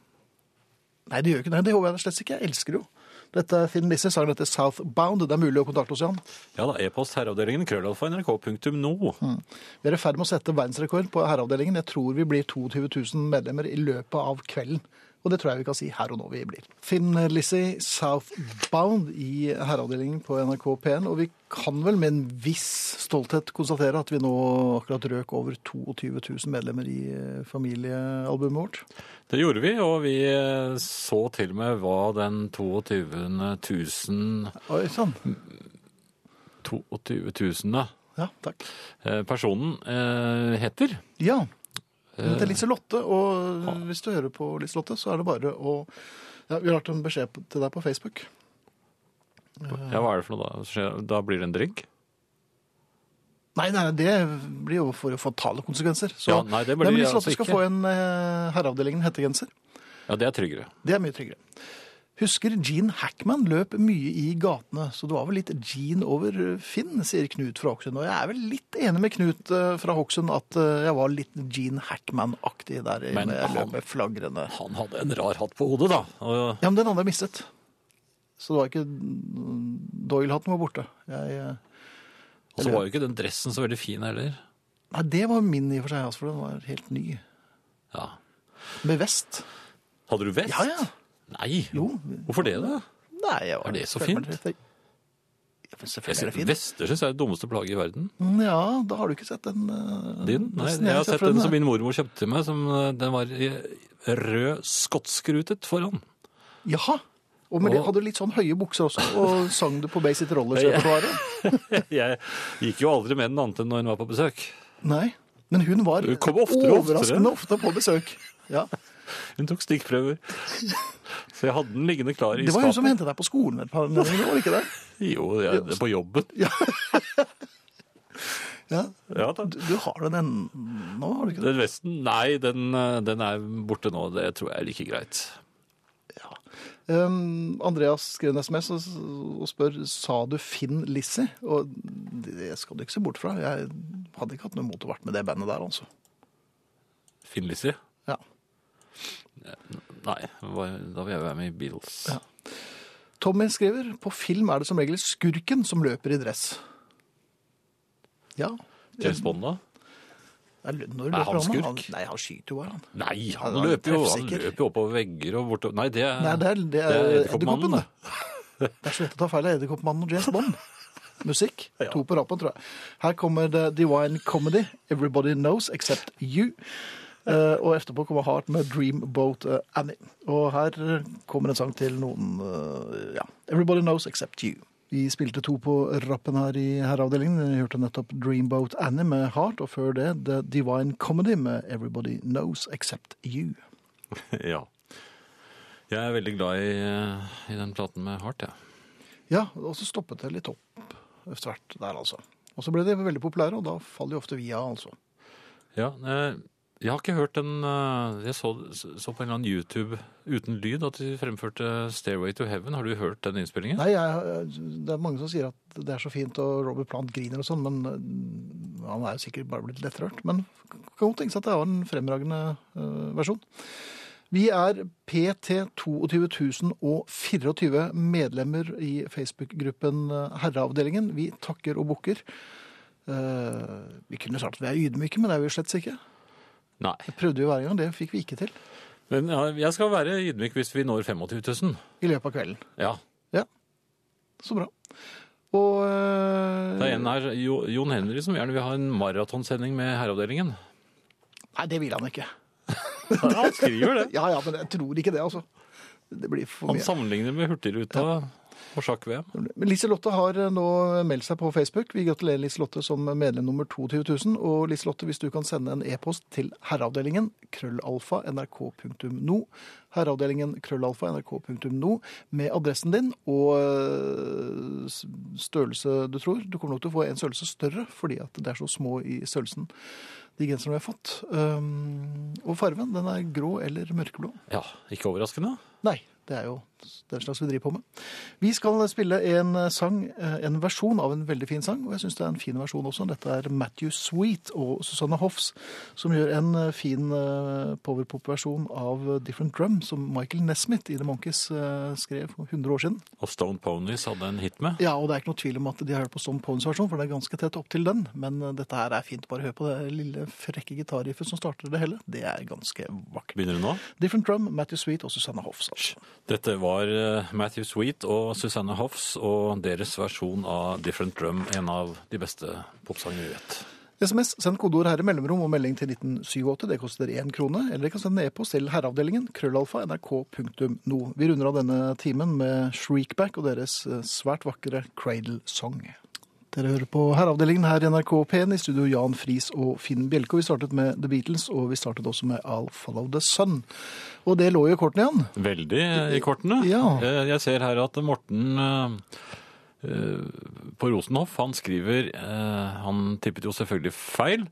Speaker 1: Nei, det gjør ikke det. Det håper jeg slett ikke. Jeg elsker det jo. Dette er Thin Lizzie, sangen heter Southbound. Det er mulig å kontakte oss, Jan.
Speaker 2: Ja da, e-post herreavdelingen krøllalfa nrk.no.
Speaker 1: Mm. Vi er i ferd med å sette verdensrekord på herreavdelingen. Jeg tror vi blir 22 000 medlemmer i løpet av kvelden. Og det tror jeg vi kan si her og nå vi blir. Finn Lizzie, Southbound i herreavdelingen på NRK P1. Og vi kan vel med en viss stolthet konstatere at vi nå akkurat røk over 22 000 medlemmer i eh, familiealbumet vårt.
Speaker 2: Det gjorde vi, og vi eh, så til og med hva den 22 000
Speaker 1: Oi sann.
Speaker 2: 22 000
Speaker 1: Ja, takk.
Speaker 2: eh, personen eh, heter.
Speaker 1: Ja. Hun heter Liselotte, og hvis du hører på Liselotte, så er det bare å ja, Vi har lagt en beskjed på- til deg på Facebook.
Speaker 2: Eh, Ja, hva er det for noe da? Skjer- Da blir det en drink?
Speaker 1: Nei, nei, det blir jo for fatale konsekvenser. Så,
Speaker 2: Ja, nei, det blir
Speaker 1: men
Speaker 2: det
Speaker 1: Liselotte
Speaker 2: altså
Speaker 1: skal
Speaker 2: ikke.
Speaker 1: få en eh, herreavdelingen hettegenser.
Speaker 2: Ja, det er tryggere.
Speaker 1: Det er mye tryggere. Husker Gene Hackman løp mye i gatene, så det var vel litt Gene over Finn, sier Knut fra Hokksund. Og jeg er vel litt enig med Knut eh, fra Hokksund at eh, jeg var litt Gene Hackman-aktig der
Speaker 2: Men
Speaker 1: når jeg
Speaker 2: han-
Speaker 1: løp med flagrende
Speaker 2: Han hadde en rar hatt på hodet, da. Og
Speaker 1: Ja, men den hadde jeg mistet. Så det var ikke Doyle-hatten var borte. Jeg, eh,
Speaker 2: og så var jo ikke den dressen så veldig fin heller.
Speaker 1: nei, det var min i og for seg, altså, for den var helt ny.
Speaker 2: Ja.
Speaker 1: Med vest.
Speaker 2: Hadde du vest?
Speaker 1: Ja, ja.
Speaker 2: Nei,
Speaker 1: Jo.
Speaker 2: hvorfor det da?
Speaker 1: Nei, jeg var
Speaker 2: Er det så
Speaker 1: føler meg
Speaker 2: fint?
Speaker 1: litt- Ja, men
Speaker 2: Jeg
Speaker 1: selvfølgelig er
Speaker 2: synes,
Speaker 1: det fint.
Speaker 2: vester synes jeg er det dummeste plaget i verden.
Speaker 1: Ja, da har du ikke sett den. eh,
Speaker 2: Din? Nei,
Speaker 1: nesten
Speaker 2: jeg har
Speaker 1: ser
Speaker 2: sett
Speaker 1: for
Speaker 2: den som min mormor kjøpte til meg, som eh, den var i rød skottskrutet foran.
Speaker 1: Jaha. Og med det
Speaker 2: Og-
Speaker 1: hadde du litt sånn høye bukser også, og sang du på Basic Rollers-repertoaret?
Speaker 2: Jeg gikk jo aldri med den annet enn når hun var på besøk.
Speaker 1: Nei. Men hun var
Speaker 2: Du kom oftere og oftere.
Speaker 1: overraskende ofte på besøk. Ja.
Speaker 2: Hun tok stikkprøver. Så jeg hadde den liggende klar i
Speaker 1: Det var hun som
Speaker 2: skapet.
Speaker 1: hentet deg på skolen et par ganger, var det ikke det?
Speaker 2: Jo, jeg, på jobben.
Speaker 1: Ja.
Speaker 2: Ja, da.
Speaker 1: Du, du har den ennå, har du ikke det?
Speaker 2: Den vesten, nei, den, eh, den er borte nå. Det tror jeg er like greit.
Speaker 1: Um, Andreas skrev en SMS og, og spør sa du Finn Lissi. Og det skal du ikke se bort fra. Jeg hadde ikke hatt noe imot å vært med det bandet der, altså.
Speaker 2: Finn-Lissi?
Speaker 1: Ja.
Speaker 2: Nei, hva- da vil jeg være med i Beatles.
Speaker 1: Ja. Tommy skriver på film er det som regel skurken som løper i dress. Ja.
Speaker 2: James Bond, da?
Speaker 1: Er, når
Speaker 2: Er
Speaker 1: løper
Speaker 2: han skurk?
Speaker 1: Han, nei, han skyter jo bare, han.
Speaker 2: Nei, han
Speaker 1: Ja, det er
Speaker 2: løper jo han
Speaker 1: treffsikker.
Speaker 2: løper jo oppover vegger og bortover Nei, det er,
Speaker 1: Nei, det er, det er,
Speaker 2: Edderkoppmannen,
Speaker 1: Edderkoppen, det. Det er så lett å ta feil av Edderkoppmannen og James Bond. Musikk. To på rappen, tror jeg. Her kommer The Divine Comedy, Everybody Knows Except You. Eh, og etterpå kommer Heart med Dreamboat eh, Annie. Og her eh, kommer en sang til noen eh, Ja. Everybody Knows Except You. Vi spilte to på rappen her i herreavdelingen. Vi hørte nettopp Dreamboat Annie med Heart, og før det The Divine Comedy med Everybody Knows Except You.
Speaker 2: Ja. Jeg er veldig glad i, eh, i den platen med Heart, jeg.
Speaker 1: Ja, og så stoppet det litt opp etter hvert der, altså. Og så ble de veldig populære, og da faller jo ofte vi av, altså.
Speaker 2: Ja. eh, jeg har ikke hørt den eh, Jeg så, så på en eller annen YouTube uten lyd at de fremførte 'Stairway to Heaven'. Har du hørt den innspillingen?
Speaker 1: Nei, jeg, eh, det er mange som sier at det er så fint, og Robert Plant griner og sånn, men øh, han er jo sikkert bare blitt lettrørt. Men kan godt tenke seg at det var en fremragende øh, versjon. Vi er PT 22.024 medlemmer i Facebook-gruppen eh, Herreavdelingen. Vi takker og bukker. Eh, vi kunne sagt at vi er ydmyke, men det er vi slett ikke.
Speaker 2: Nei.
Speaker 1: Det prøvde vi hver gang, det fikk vi ikke til.
Speaker 2: Men ja, jeg skal være ydmyk hvis vi når 25 000.
Speaker 1: I løpet av kvelden.
Speaker 2: Ja.
Speaker 1: Så bra. Og eh,
Speaker 2: Det er en her, Jo- Jon Henry, som gjerne vil ha en maratonsending med Herreavdelingen.
Speaker 1: Nei, det vil han ikke.
Speaker 2: Han skriver det.
Speaker 1: Ja, ja, men jeg tror ikke det, altså. Det blir for
Speaker 2: Han
Speaker 1: mye.
Speaker 2: sammenligner med Hurtigruta og sjakk-VM.
Speaker 1: Men Liselotte har eh, nå meldt seg på Facebook. Vi gratulerer Liselotte som medlem nummer 22 000. Og Liselotte, hvis du kan sende en e-post til herreavdelingen krøllalfa nrk.no herreavdelingen krøllalfa nrk.no med adressen din og øh, s- størrelse du tror. Du kommer nok til å få en størrelse større, fordi at det er så små i størrelsen, de genserne vi har fått. Ehm, og farven, den er grå eller mørkeblå.
Speaker 2: Ja, ikke overraskende.
Speaker 1: Nei, det er jo den slags vi driver på med. Vi skal spille en eh, sang, en versjon av en veldig fin sang, og jeg syns det er en fin versjon også. Dette er Matthew Sweet og Susanne Hoffs, som gjør en fin eh, powerpop-versjon av Different Drum, som Michael Nesmith i The Monkees eh, skrev for 100 år siden.
Speaker 2: Og Stone Ponies hadde en hit med.
Speaker 1: Ja, og det er ikke noe tvil om at de har hørt på Stone Pones versjon, for den er ganske tett opp til den. Men eh, dette her er fint. Bare hør på det lille frekke gitarriffet som starter det hele. Det er ganske vakkert.
Speaker 2: Begynner du nå?
Speaker 1: Different Drum, Matthew Sweet og Susanne Hoffs. Altså.
Speaker 2: Dette var eh, Matthew Sweet og Susanne Hoffs og deres versjon av Different Drum, en av de beste popsangene vi vet.
Speaker 1: SMS, send kodeord herre mellomrom og melding til 1987. Det koster én krone. Eller dere kan sende en e-post til herreavdelingen krøllalfa nrk.no. Vi runder av denne timen med Shriekback og deres eh, svært vakre Cradle Song. Dere hører på Herreavdelingen her i NRK P1 i studio Jan Friis og Finn Bjelke. Og vi startet med The Beatles, og vi startet også med I'll Follow The Sun. Og det lå jo i kortene igjen.
Speaker 2: Veldig eh, i kortene.
Speaker 1: Ja.
Speaker 2: Eh, Jeg ser her at Morten eh, eh, på Rosenhoff, han skriver eh, Han tippet jo selvfølgelig feil.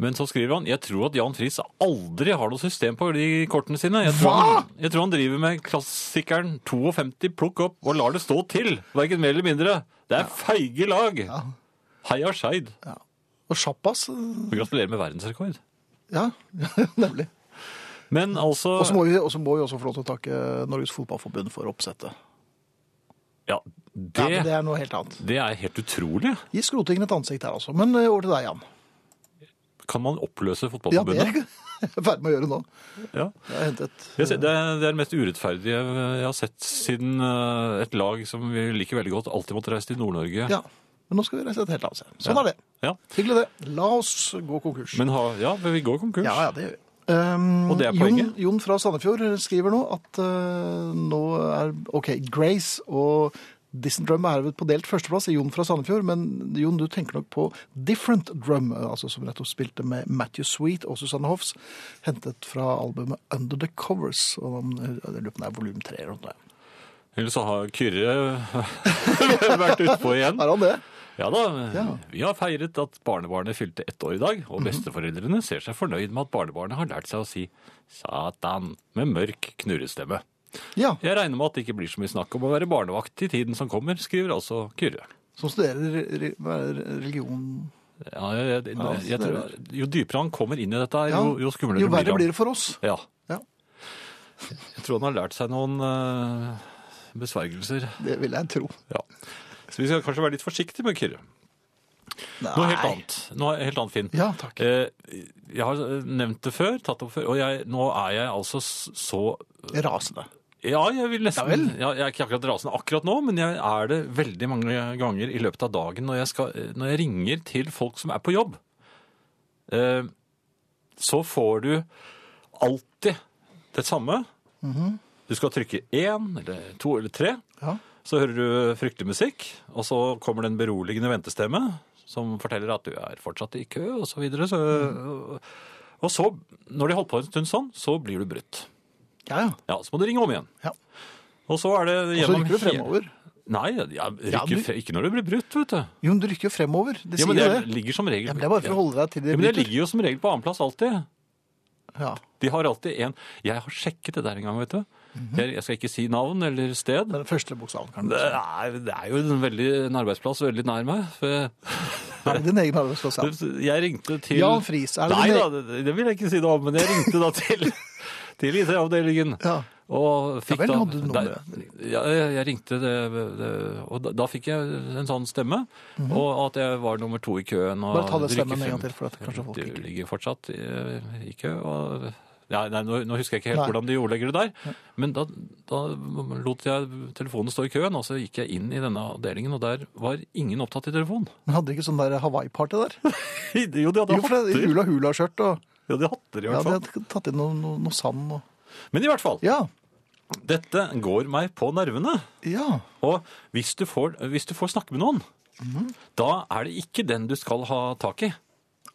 Speaker 2: Men så skriver han jeg tror at Jan Friis aldri har noe system på de kortene sine. Jeg tror,
Speaker 1: Hva?
Speaker 2: han, jeg tror han driver med klassikeren 52 plukk opp og lar det stå til. Verken mer eller mindre. Det er feige lag! Heia Skeid.
Speaker 1: Og sjappas.
Speaker 2: Og Gratulerer med verdensrekord.
Speaker 1: Ja, nemlig.
Speaker 2: Men altså
Speaker 1: Og så må vi og så må vi også få lov til å takke Norges Fotballforbund for oppsettet.
Speaker 2: Ja,
Speaker 1: Ja, men
Speaker 2: det,
Speaker 1: det er noe helt annet.
Speaker 2: det er helt utrolig.
Speaker 1: Gi skrotingen et ansikt her, altså. Men eh, over til deg, Jan.
Speaker 2: Kan man
Speaker 1: Ja,
Speaker 2: oppløse
Speaker 1: det er
Speaker 2: Fotballforbundet?
Speaker 1: jeg ferdig med å gjøre nå.
Speaker 2: Ja.
Speaker 1: Jeg har hentet
Speaker 2: Jeg ser- Det er det er det mest urettferdige jeg har sett siden eh, et lag som vi liker veldig godt, alltid måtte reise til Nord-Norge.
Speaker 1: Ja. Men nå skal vi reise et helt annet sted. Sånn
Speaker 2: Ja.
Speaker 1: er det.
Speaker 2: Ja.
Speaker 1: Hyggelig det. La oss gå konkurs.
Speaker 2: Men ha, ja, men vi går konkurs.
Speaker 1: Ja, ja, det gjør vi. Um,
Speaker 2: Og det er
Speaker 1: Jon,
Speaker 2: poenget.
Speaker 1: Jon fra Sandefjord skriver nå at eh, nå er OK, Grace og Distant Drum er herved på delt førsteplass i Jon fra Sandefjord, men Jon, du tenker nok på Different Drum, eh, altså som nettopp spilte med Matthew Sweet og Susanne Hoffs, hentet fra albumet Under the Covers. Og om, jeg lurer på om det er volum tre eller noe.
Speaker 2: Eller så har Kyrre eh, vært utpå igjen.
Speaker 1: Er han det?
Speaker 2: Ja da,
Speaker 1: Ja. Mhm.
Speaker 2: vi har feiret at barnebarnet fylte ett år i dag, og besteforeldrene ser seg fornøyd med at barnebarnet har lært seg å si satan med mørk knurrestemme.
Speaker 1: Ja.
Speaker 2: Jeg regner med at det ikke blir så mye snakk om å være barnevakt i tiden som kommer, skriver altså Kyrre.
Speaker 1: Som studerer re- hva er det, religion
Speaker 2: Ja, jeg, jeg, jeg, jeg tror, jo dypere han kommer inn i dette, her,
Speaker 1: altså, Ja,
Speaker 2: jo, jo skumlere
Speaker 1: Jo verre
Speaker 2: blir han.
Speaker 1: blir det for oss.
Speaker 2: Ja.
Speaker 1: Ja.
Speaker 2: Jeg tror han har lært seg noen eh, besvergelser.
Speaker 1: Det vil jeg tro.
Speaker 2: Ja. Så vi skal kanskje være litt forsiktige med Kyrre. Noe helt annet. Noe helt annet, Finn.
Speaker 1: Ja, takk.
Speaker 2: Eh, Jeg har nevnt det før, tatt opp før, og jeg, nå er jeg altså så
Speaker 1: Rasende.
Speaker 2: Ja, jeg vil nesten
Speaker 1: Ja vel.
Speaker 2: ja, Jeg er ikke akkurat rasende akkurat nå, men jeg er det veldig mange ganger i løpet av dagen når jeg, skal, når jeg ringer til folk som er på jobb. Eh, Så får du alltid det samme.
Speaker 1: Mhm.
Speaker 2: Du skal trykke én eller to eller tre.
Speaker 1: Ja.
Speaker 2: Så hører du fryktelig musikk, og så kommer det en beroligende ventestemme som forteller at du er fortsatt i kø, og så videre. Så, Og så, når de holder på en stund sånn, så blir du brutt.
Speaker 1: Ja, ja.
Speaker 2: Ja, så må du ringe om igjen.
Speaker 1: Ja.
Speaker 2: Og så er det
Speaker 1: Og så
Speaker 2: gjennom...
Speaker 1: rykker du
Speaker 2: hele-
Speaker 1: fremover.
Speaker 2: Nei, ja, rykker,
Speaker 1: Ja, men-
Speaker 2: fre- ikke når du blir brutt, vet du.
Speaker 1: Jo, men du rykker jo fremover. Det
Speaker 2: Ja,
Speaker 1: sier
Speaker 2: men det
Speaker 1: jo det.
Speaker 2: ligger som regel...
Speaker 1: Ja, men det er bare for å holde deg til
Speaker 2: Ja,
Speaker 1: det
Speaker 2: men det
Speaker 1: bryter.
Speaker 2: ligger jo som regel på annen plass alltid.
Speaker 1: Ja.
Speaker 2: De har alltid en... Jeg har sjekket det der en gang, vet du.
Speaker 1: Mhm.
Speaker 2: jeg, jeg skal ikke si navn eller sted.
Speaker 1: Den første bokstaven, kan du
Speaker 2: Det
Speaker 1: si.
Speaker 2: er, det er jo en, veldig, en arbeidsplass veldig nær meg. For jeg,
Speaker 1: Er det din egen arbeidsplass? ja?
Speaker 2: jeg ringte til
Speaker 1: Jan Friis, er det
Speaker 2: Nei
Speaker 1: din
Speaker 2: da,
Speaker 1: egen-
Speaker 2: det, det vil jeg ikke si noe om, men jeg ringte da til, til IT-avdelingen.
Speaker 1: Ja.
Speaker 2: Og fikk
Speaker 1: Ja vel,
Speaker 2: da,
Speaker 1: hadde du nummeret?
Speaker 2: der- ja, jeg, jeg ringte, det, det, og da, da fikk jeg en sånn stemme. Og at jeg var nummer to i køen. Og
Speaker 1: Mhm. Bare ta den
Speaker 2: det rykker
Speaker 1: stemmen en gang
Speaker 2: frem.
Speaker 1: til, for at kanskje folk
Speaker 2: Du
Speaker 1: ikke
Speaker 2: ligger fortsatt i, i kø. Og, nei, nei, nå, nå husker jeg ikke helt
Speaker 1: Nei.
Speaker 2: hvordan de ordlegger det der. Men da, da lot jeg telefonen stå i køen, og så gikk jeg inn i denne avdelingen, og der var ingen opptatt i telefon.
Speaker 1: Men hadde de ikke sånn der Hawaii-party der?
Speaker 2: jo, de hadde
Speaker 1: Jo, for det er
Speaker 2: hatter.
Speaker 1: hula-hula-skjørt og
Speaker 2: Ja, de hadde hatter i
Speaker 1: Ja,
Speaker 2: hvert
Speaker 1: de
Speaker 2: fall.
Speaker 1: hadde tatt inn noe, noe, noe sand og
Speaker 2: Men i hvert fall,
Speaker 1: Ja.
Speaker 2: dette går meg på nervene.
Speaker 1: Ja.
Speaker 2: Og hvis du får, hvis du får snakke med noen, da er det ikke den du skal ha tak i.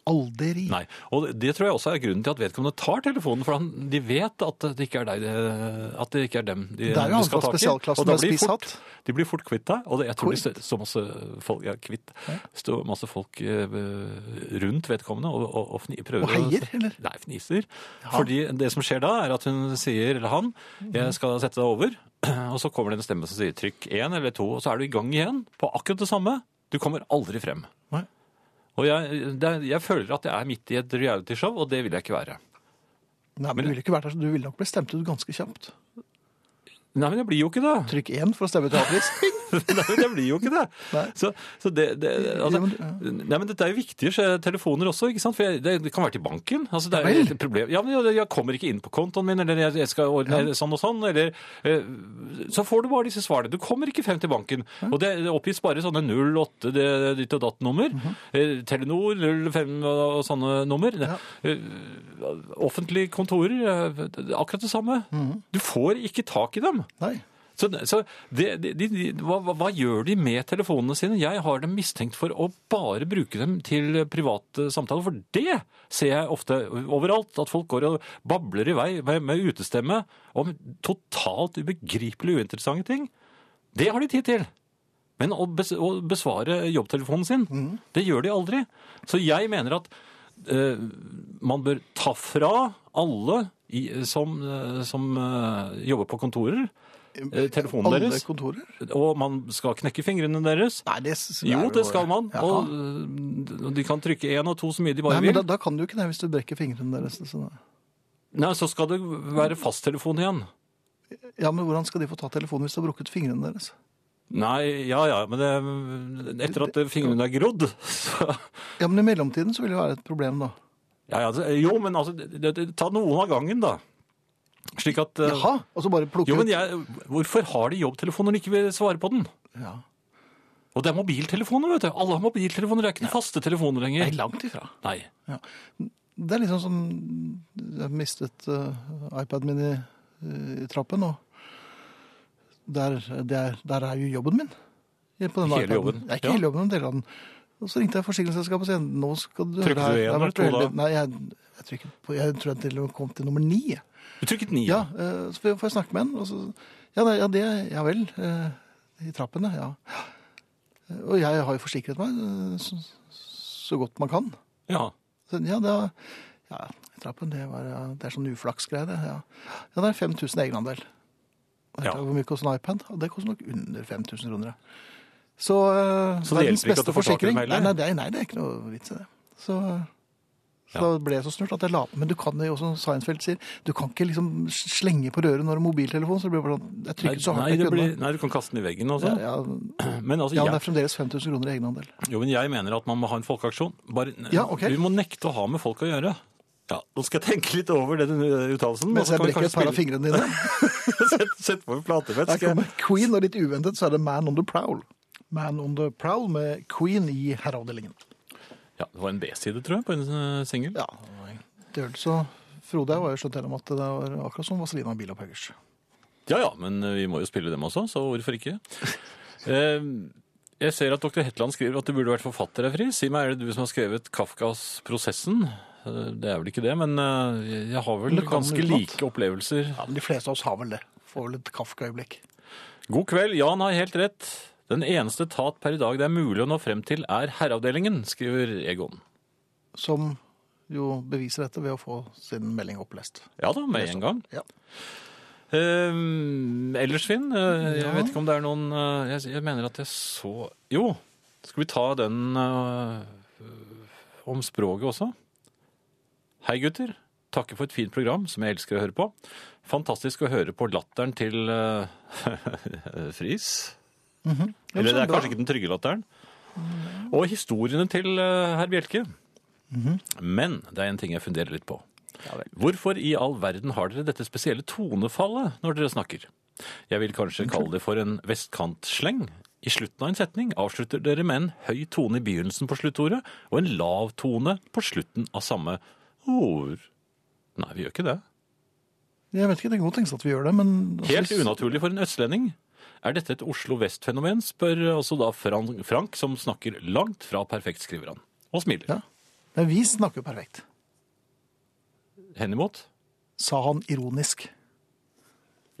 Speaker 1: Aldri.
Speaker 2: Nei, og Det tror jeg også er grunnen til at vedkommende tar telefonen. For han, de vet at det ikke er deg, det- at det ikke er dem de,
Speaker 1: Det er jo
Speaker 2: du
Speaker 1: han
Speaker 2: skal
Speaker 1: fra
Speaker 2: ha tak i.
Speaker 1: spesialklassen
Speaker 2: Og da
Speaker 1: med
Speaker 2: blir
Speaker 1: spiss
Speaker 2: fort-
Speaker 1: hatt.
Speaker 2: De blir fort kvitt deg. Og det, jeg tror det
Speaker 1: Kvitt?
Speaker 2: står så masse folk, ja, kvitt. står masse folk eh, rundt vedkommende og, og, og fni, prøver
Speaker 1: Og heier, eller?
Speaker 2: Nei, fniser. Fordi det som skjer da, er at hun sier, eller han,
Speaker 1: Mhm.
Speaker 2: jeg skal sette deg over. Og så kommer det en stemme som sier trykk én eller to, og så er du i gang igjen på akkurat det samme. Du kommer aldri frem.
Speaker 1: Nei.
Speaker 2: Og jeg, det, er- jeg føler at jeg er midt i et realityshow, og det vil jeg ikke være.
Speaker 1: Nei, men Du ville ikke vært der, så du ville nok blitt stemt ut ganske kjapt.
Speaker 2: Nei, men jeg blir jo ikke det.
Speaker 1: Trykk én for å stemme til avpris. Ping!
Speaker 2: Nei, men jeg blir jo ikke det.
Speaker 1: Nei.
Speaker 2: Så, så det, det altså,
Speaker 1: Ja, men-
Speaker 2: Nei, men dette er jo viktige skje- telefoner også, ikke sant? For jeg, det, det kan være til banken. Altså, det er
Speaker 1: Ja
Speaker 2: jo
Speaker 1: vel.
Speaker 2: et problem. Ja, men jeg, jeg kommer ikke inn på kontoen min, eller jeg, jeg skal ordne sånn og sånn, eller eh, Så får du bare disse svarene. Du kommer ikke frem til banken. Og det, det oppgis bare sånne 08 det, ditt og datt-nummer.
Speaker 1: Mhm.
Speaker 2: Eh, Telenor 05 og, og sånne nummer. Eh, offentlige kontorer. eh, det- det- Akkurat det samme.
Speaker 1: Mhm.
Speaker 2: Du får ikke tak i dem.
Speaker 1: Nei.
Speaker 2: Så, så det, de, de, de, hva, hva- hva gjør de med telefonene sine? Jeg har dem mistenkt for å bare bruke dem til private samtaler, for det ser jeg ofte overalt, at folk går og babler i vei med, med utestemme om totalt ubegripelig uinteressante ting. Det har de tid til. Men å bes- å besvare jobbtelefonen sin,
Speaker 1: Mm.
Speaker 2: det gjør de aldri. Så jeg mener at eh, man bør ta fra alle i, som, eh, som eh, jobber på kontorer, eh, telefonen
Speaker 1: Alle
Speaker 2: deres,
Speaker 1: kontorer?
Speaker 2: og man skal knekke fingrene deres.
Speaker 1: Nei, det s- er
Speaker 2: Jo,
Speaker 1: jo-
Speaker 2: det skal man.
Speaker 1: Ja.
Speaker 2: Og eh, de kan trykke én og to så mye de bare
Speaker 1: Nei, men da,
Speaker 2: vil.
Speaker 1: da kan du jo ikke det hvis du brekker fingrene deres. Så.
Speaker 2: Nei, så skal det være fasttelefon igjen.
Speaker 1: Ja, men hvordan skal de få ta telefonen hvis du har brukket fingrene deres?
Speaker 2: Nei, ja ja, men det, etter at fingrene er grodd, så
Speaker 1: Ja, men i mellomtiden så vil det jo være et problem, da.
Speaker 2: Ja, ja, det- jo, men altså, det, det, det, ta noen av gangen, da. Slik at eh,
Speaker 1: Jaha, og så bare plukke
Speaker 2: Jo, men
Speaker 1: ut.
Speaker 2: jeg, hvorfor har de jobbtelefon når de ikke vil svare på den?
Speaker 1: Ja.
Speaker 2: Og det er mobiltelefoner, vet du. Alle har mobiltelefoner, det er ikke noen faste telefoner
Speaker 1: Nei,
Speaker 2: lenger.
Speaker 1: langt ifra.
Speaker 2: Nei.
Speaker 1: Ja. Det er liksom som Jeg mistet eh, iPaden min i, eh, i trappen, og der, der, der er jo jobben min. På den
Speaker 2: Hele
Speaker 1: iPaden.
Speaker 2: jobben,
Speaker 1: Nei, ikke
Speaker 2: ja.
Speaker 1: hele jobben, men deler av den. Og så ringte jeg forsikringsselskapet og sa nå skal du
Speaker 2: Trykket du
Speaker 1: Jeg har
Speaker 2: en eller
Speaker 1: vært
Speaker 2: to
Speaker 1: uheldig.
Speaker 2: da?
Speaker 1: Nei, jeg, jeg, trykket på, jeg tror jeg til og med kom til nummer ni. jeg.
Speaker 2: Du trykket ni.
Speaker 1: Ja, eh, så får jeg- får jeg snakke med han. Og så, ja, nei, ja, det, ja vel. eh, I trappene, ja. Eh, Og jeg har jo forsikret meg eh, så, så godt man kan.
Speaker 2: Ja.
Speaker 1: Så, ja, da, ja, i trappen, det, var, ja, det er sånn uflaksgreie, det. Ja, ja det er 5000 egenandel. Og jeg
Speaker 2: Ja.
Speaker 1: vet ikke Hvor mye koster en iPad? Og det koster nok under 5000 kroner. ja. Så, eh,
Speaker 2: Så det hjelper ikke at du får tak i dem
Speaker 1: Nei,
Speaker 2: heller?
Speaker 1: nei, det er- nei, det er ikke noe vits i det. Så, eh, Så Da ble jeg så snurt at jeg la på. Men du kan jo, som Seinfeld sier, du kan ikke liksom slenge på røret når det er mobiltelefon. Så det blir bare sånn, jeg
Speaker 2: Nei,
Speaker 1: trykket så hardt
Speaker 2: nei,
Speaker 1: jeg
Speaker 2: det
Speaker 1: kunne.
Speaker 2: blir, nei, du kan kaste den i veggen og sånn.
Speaker 1: ja, ja,
Speaker 2: Men altså,
Speaker 1: ja, men det
Speaker 2: jeg,
Speaker 1: er fremdeles 5000 kroner i egenandel.
Speaker 2: jo, men jeg mener at man må ha en folkeaksjon. Bare,
Speaker 1: Ja, ok.
Speaker 2: Du må nekte å ha med folk å gjøre. Ja, Nå skal jeg tenke litt over den eh, uttalelsen. og
Speaker 1: Mens
Speaker 2: så
Speaker 1: jeg
Speaker 2: kan vi
Speaker 1: brekker et
Speaker 2: kanskje
Speaker 1: par av
Speaker 2: spille-
Speaker 1: fingrene dine.
Speaker 2: Sett, sett på en platefett.
Speaker 1: Der
Speaker 2: skal jeg-
Speaker 1: kommer Queen, og litt uventet så er det Man on the Prowl. Man on the Prowl med Queen i herreavdelingen.
Speaker 2: Ja, det var en B-side, tror jeg, på en eh, singel.
Speaker 1: Ja, det hørte så Frode var jo skjønt enig om at det var akkurat som Vazelina og Bilopphøggers.
Speaker 2: Ja ja, men eh, vi må jo spille dem også, så hvorfor ikke? Eh, Jeg ser at dr. Hetland skriver at det burde vært forfatterefri. Si meg, er det du som har skrevet Kafkas 'Prosessen'? Eh, Det er vel ikke det, men eh, jeg har vel
Speaker 1: Men det kan
Speaker 2: ganske
Speaker 1: utenat.
Speaker 2: like opplevelser.
Speaker 1: Ja, men de fleste av oss har vel det. Får vel et Kafka-øyeblikk.
Speaker 2: God kveld, Jan har helt rett. Den eneste tat per i dag det er mulig å nå frem til, er Herreavdelingen, skriver Egon.
Speaker 1: Som jo beviser dette ved å få sin melding opplest.
Speaker 2: Ja da, med en gang.
Speaker 1: Ja.
Speaker 2: Eh, ellers, Finn, eh, jeg
Speaker 1: Ja.
Speaker 2: vet ikke om det er noen eh, jeg, jeg mener at jeg så Jo, skal vi ta den eh, om språket også? Hei, gutter. Takker for et fint program som jeg elsker å høre på. Fantastisk å høre på latteren til eh, Friis.
Speaker 1: Mhm. Ja,
Speaker 2: Eller
Speaker 1: så
Speaker 2: det er
Speaker 1: bra.
Speaker 2: kanskje ikke den trygge latteren. Og historiene til eh, herr Bjelke. Men det er en ting jeg funderer litt på.
Speaker 1: Mhm. Ja vel.
Speaker 2: Hvorfor i all verden har dere dette spesielle tonefallet når dere snakker? Jeg vil kanskje kalle det for en vestkantsleng. I slutten av en setning avslutter dere med en høy tone i begynnelsen på sluttordet og en lav tone på slutten av samme ord. Nei, vi gjør ikke det.
Speaker 1: Jeg vet ikke, det er godt tenkt at vi gjør det, men
Speaker 2: Helt unaturlig for en østlending. Er dette et Oslo Vest-fenomen, spør altså da Frank, Frank, som snakker langt fra perfekt, skriver han. Og smiler.
Speaker 1: Ja. Nei, vi snakker jo perfekt,
Speaker 2: Henimot?
Speaker 1: sa han ironisk.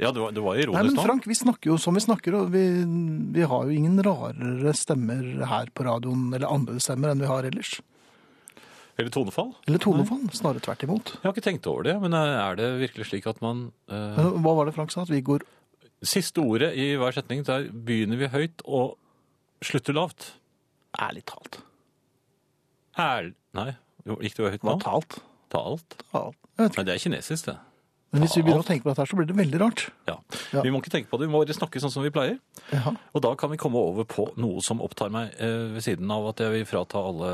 Speaker 2: Ja, det var, det var
Speaker 1: Nei,
Speaker 2: ironisk
Speaker 1: men
Speaker 2: nå.
Speaker 1: Frank, vi snakker jo som vi snakker, og vi, vi har jo ingen rarere stemmer her på radioen, eller annerledes stemmer enn vi har ellers.
Speaker 2: Eller tonefall.
Speaker 1: Eller tonefall, snarere tvert imot.
Speaker 2: Jeg har ikke tenkt over det, men er det virkelig slik at man eh,
Speaker 1: Men Hva var det Frank sa? At vi går
Speaker 2: Siste ordet i hver setning, der begynner vi høyt og slutter lavt.
Speaker 1: ærlig talt.
Speaker 2: Her... Nei, jo, gikk det jo høyt nå?
Speaker 1: Hva talt?
Speaker 2: Ta alt.
Speaker 1: Ja, jeg vet ikke.
Speaker 2: Nei, det er kinesisk, det.
Speaker 1: Men hvis vi begynner å tenke på dette her, så blir det veldig rart.
Speaker 2: Ja.
Speaker 1: Ja.
Speaker 2: Vi må ikke tenke på det, vi må bare snakke sånn som vi pleier.
Speaker 1: Ja.
Speaker 2: Og da kan vi komme over på noe som opptar meg eh, ved siden av at jeg vil frata alle,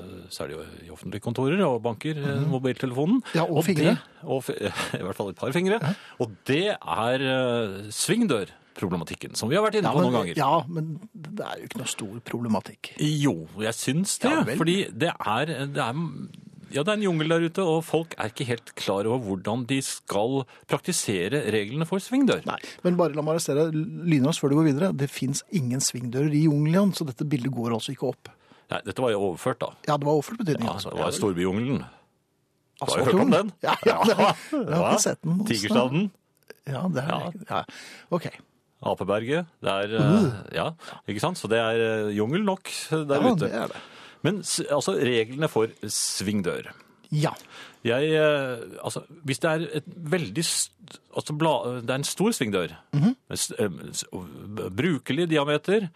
Speaker 2: eh, særlig i offentlige kontorer og banker, eh, mobiltelefonen.
Speaker 1: Mhm. Ja, og
Speaker 2: Det,
Speaker 1: fingre.
Speaker 2: og, fi- I hvert fall et par fingre. Og det er eh, svingdørproblematikken, som vi har vært inne
Speaker 1: Ja,
Speaker 2: på
Speaker 1: men,
Speaker 2: noen ganger.
Speaker 1: ja, men det er jo ikke noe stor problematikk.
Speaker 2: Jo, jeg syns det.
Speaker 1: Ja vel.
Speaker 2: fordi det er, det er ja, det er en jungel der ute, og folk er ikke helt klar over hvordan de skal praktisere reglene for svingdør.
Speaker 1: Nei, Men bare la meg arrestere lynraskt før du går videre. Det fins ingen svingdører i jungelen, så dette bildet går altså ikke opp.
Speaker 2: Nei, dette var jo overført, da.
Speaker 1: Ja, det var overført betydning.
Speaker 2: Ja,
Speaker 1: altså.
Speaker 2: det var
Speaker 1: Ja,
Speaker 2: storbyjungelen.
Speaker 1: altså,
Speaker 2: har du hørt om den?
Speaker 1: Ja, ja, det har, jeg har
Speaker 2: Hva?
Speaker 1: ikke sett den. noe sted.
Speaker 2: Tigerstaden,
Speaker 1: Ja, det har jeg ikke. Ja. OK.
Speaker 2: Apeberget. Det er
Speaker 1: Uh.
Speaker 2: eh, Ja, ikke sant? Så det er eh, jungel nok der
Speaker 1: Ja,
Speaker 2: ute.
Speaker 1: det er det.
Speaker 2: Men s- altså, reglene for svingdør.
Speaker 1: Ja.
Speaker 2: Jeg eh, Altså, hvis det er et veldig st- Altså, bla, det er en stor svingdør,
Speaker 1: Mhm.
Speaker 2: med s- eh, s- brukelig diameter,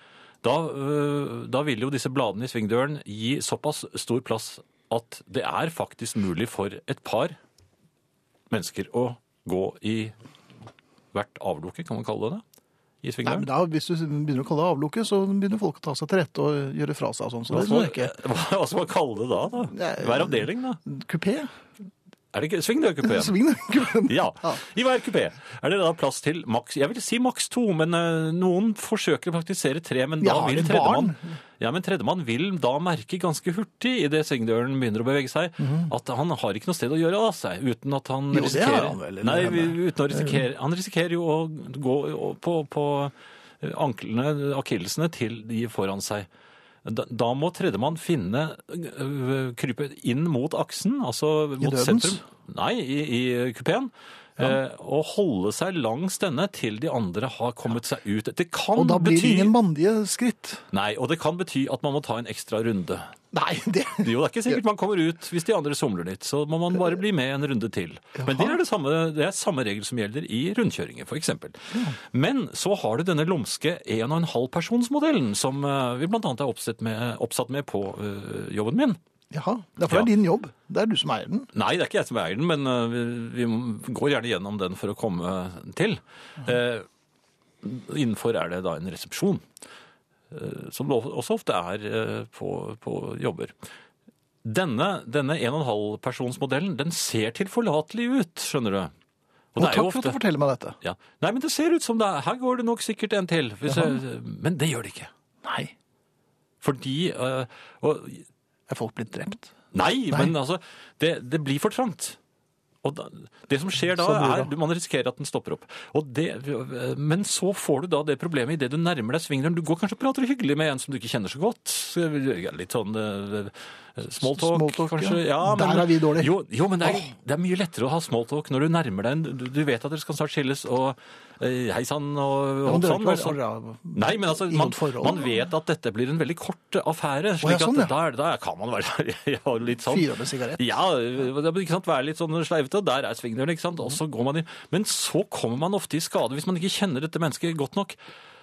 Speaker 2: da, eh, da vil jo disse bladene i svingdøren gi såpass stor plass at det er faktisk mulig for et par mennesker å gå i hvert avlukke, kan man kalle det det, i
Speaker 1: Nei, men
Speaker 2: svingdøren.
Speaker 1: da, Hvis du begynner å kalle det avlukke, så begynner folk å ta seg til rette og gjøre fra seg og sånn. Så
Speaker 2: Hva
Speaker 1: det
Speaker 2: skal,
Speaker 1: må
Speaker 2: man,
Speaker 1: jeg ikke.
Speaker 2: hva skal man kalle det da? da?
Speaker 1: Nei,
Speaker 2: Hver avdeling, da?
Speaker 1: Kupé?
Speaker 2: Er det ikke svingdørkupeen?
Speaker 1: Svingdørkupé?
Speaker 2: Ja. I hver kupé er det da plass til maks Jeg vil si maks to, men eh, noen forsøker å praktisere tre. Men da
Speaker 1: Ja, har
Speaker 2: vil
Speaker 1: de
Speaker 2: tredjemann Ja, men tredjemann vil da merke ganske hurtig idet svingdøren begynner å bevege seg, at han har ikke noe sted å gjøre av seg uten at han
Speaker 1: Mhm. Jo, det har
Speaker 2: risikerer
Speaker 1: han vel, eller
Speaker 2: Nei,
Speaker 1: henne.
Speaker 2: uten å risikere Han risikerer jo å gå på, på anklene, akillesene, til de foran seg. Da, da må tredjemann finne øh, krype inn mot aksen, altså mot
Speaker 1: dødens?
Speaker 2: sentrum. Nei, i, i kupeen. eh, Og holde seg langs denne til de andre har kommet seg ut. Det kan
Speaker 1: Og da blir
Speaker 2: bety
Speaker 1: det ingen mandige skritt.
Speaker 2: Nei, og det kan bety at man må ta en ekstra runde.
Speaker 1: Nei, det
Speaker 2: Jo, det er ikke sikkert man kommer ut hvis de andre somler litt, så må man bare bli med en runde til. Men det er det samme, det er samme regel som gjelder i rundkjøringer, for eksempel. Men så har du denne lumske 1,5 personsmodellen, som eh, vi blant annet er oppsatt med, oppsatt med på eh, jobben min.
Speaker 1: Jaha, ja, for det
Speaker 2: Ja.
Speaker 1: er din jobb. Det er du som eier den.
Speaker 2: Nei, det er ikke jeg som eier den, men eh, vi, vi går gjerne gjennom den for å komme til. Eh, innenfor er det da en resepsjon, eh, som lo- også ofte er eh, på, på jobber. Denne, denne 1,5-personsmodellen, den ser tilforlatelig ut, skjønner du.
Speaker 1: Og,
Speaker 2: det er
Speaker 1: takk
Speaker 2: jo
Speaker 1: for at
Speaker 2: ofte-
Speaker 1: du forteller meg dette.
Speaker 2: ja. Nei, men det ser ut som det er. Her går det nok sikkert en til. Hvis jeg, men det gjør det ikke.
Speaker 1: Nei,
Speaker 2: Fordi eh, og,
Speaker 1: er folk blitt drept?
Speaker 2: Nei,
Speaker 1: Nei.
Speaker 2: men altså Det, det blir for trangt. Og da, det som skjer da,
Speaker 1: Så blir
Speaker 2: er
Speaker 1: det.
Speaker 2: du- man risikerer at den stopper opp. Og det, men så får du da det problemet idet du nærmer deg svingdøren. Du går kanskje og prater hyggelig med en som du ikke kjenner så godt. Så, ja, Litt sånn eh, small talk,
Speaker 1: Small talk,
Speaker 2: kanskje.
Speaker 1: ja. Der er vi dårlig.
Speaker 2: Jo, jo men det er, det er mye lettere å ha small talk når du nærmer deg en Du, du vet at dere skal snart skilles, og eh, hei sann og sånn,
Speaker 1: Ja, men det er
Speaker 2: hopp
Speaker 1: jo
Speaker 2: sann.
Speaker 1: ikke
Speaker 2: og så-
Speaker 1: bare-
Speaker 2: Nei, men altså,
Speaker 1: I
Speaker 2: man,
Speaker 1: godt forhold,
Speaker 2: man
Speaker 1: da.
Speaker 2: vet at dette blir en veldig kort affære.
Speaker 1: Å, ja,
Speaker 2: slik
Speaker 1: sånn, ja.
Speaker 2: at da, er det- da kan man være ja, litt sånn.
Speaker 1: Fyre opp en sigarett.
Speaker 2: Ja, det er ikke sant, være litt sånn sleivete. Der er svingdøren, ikke sant. Og så går man inn. Men så kommer man ofte i skade. Hvis man ikke kjenner dette mennesket godt nok,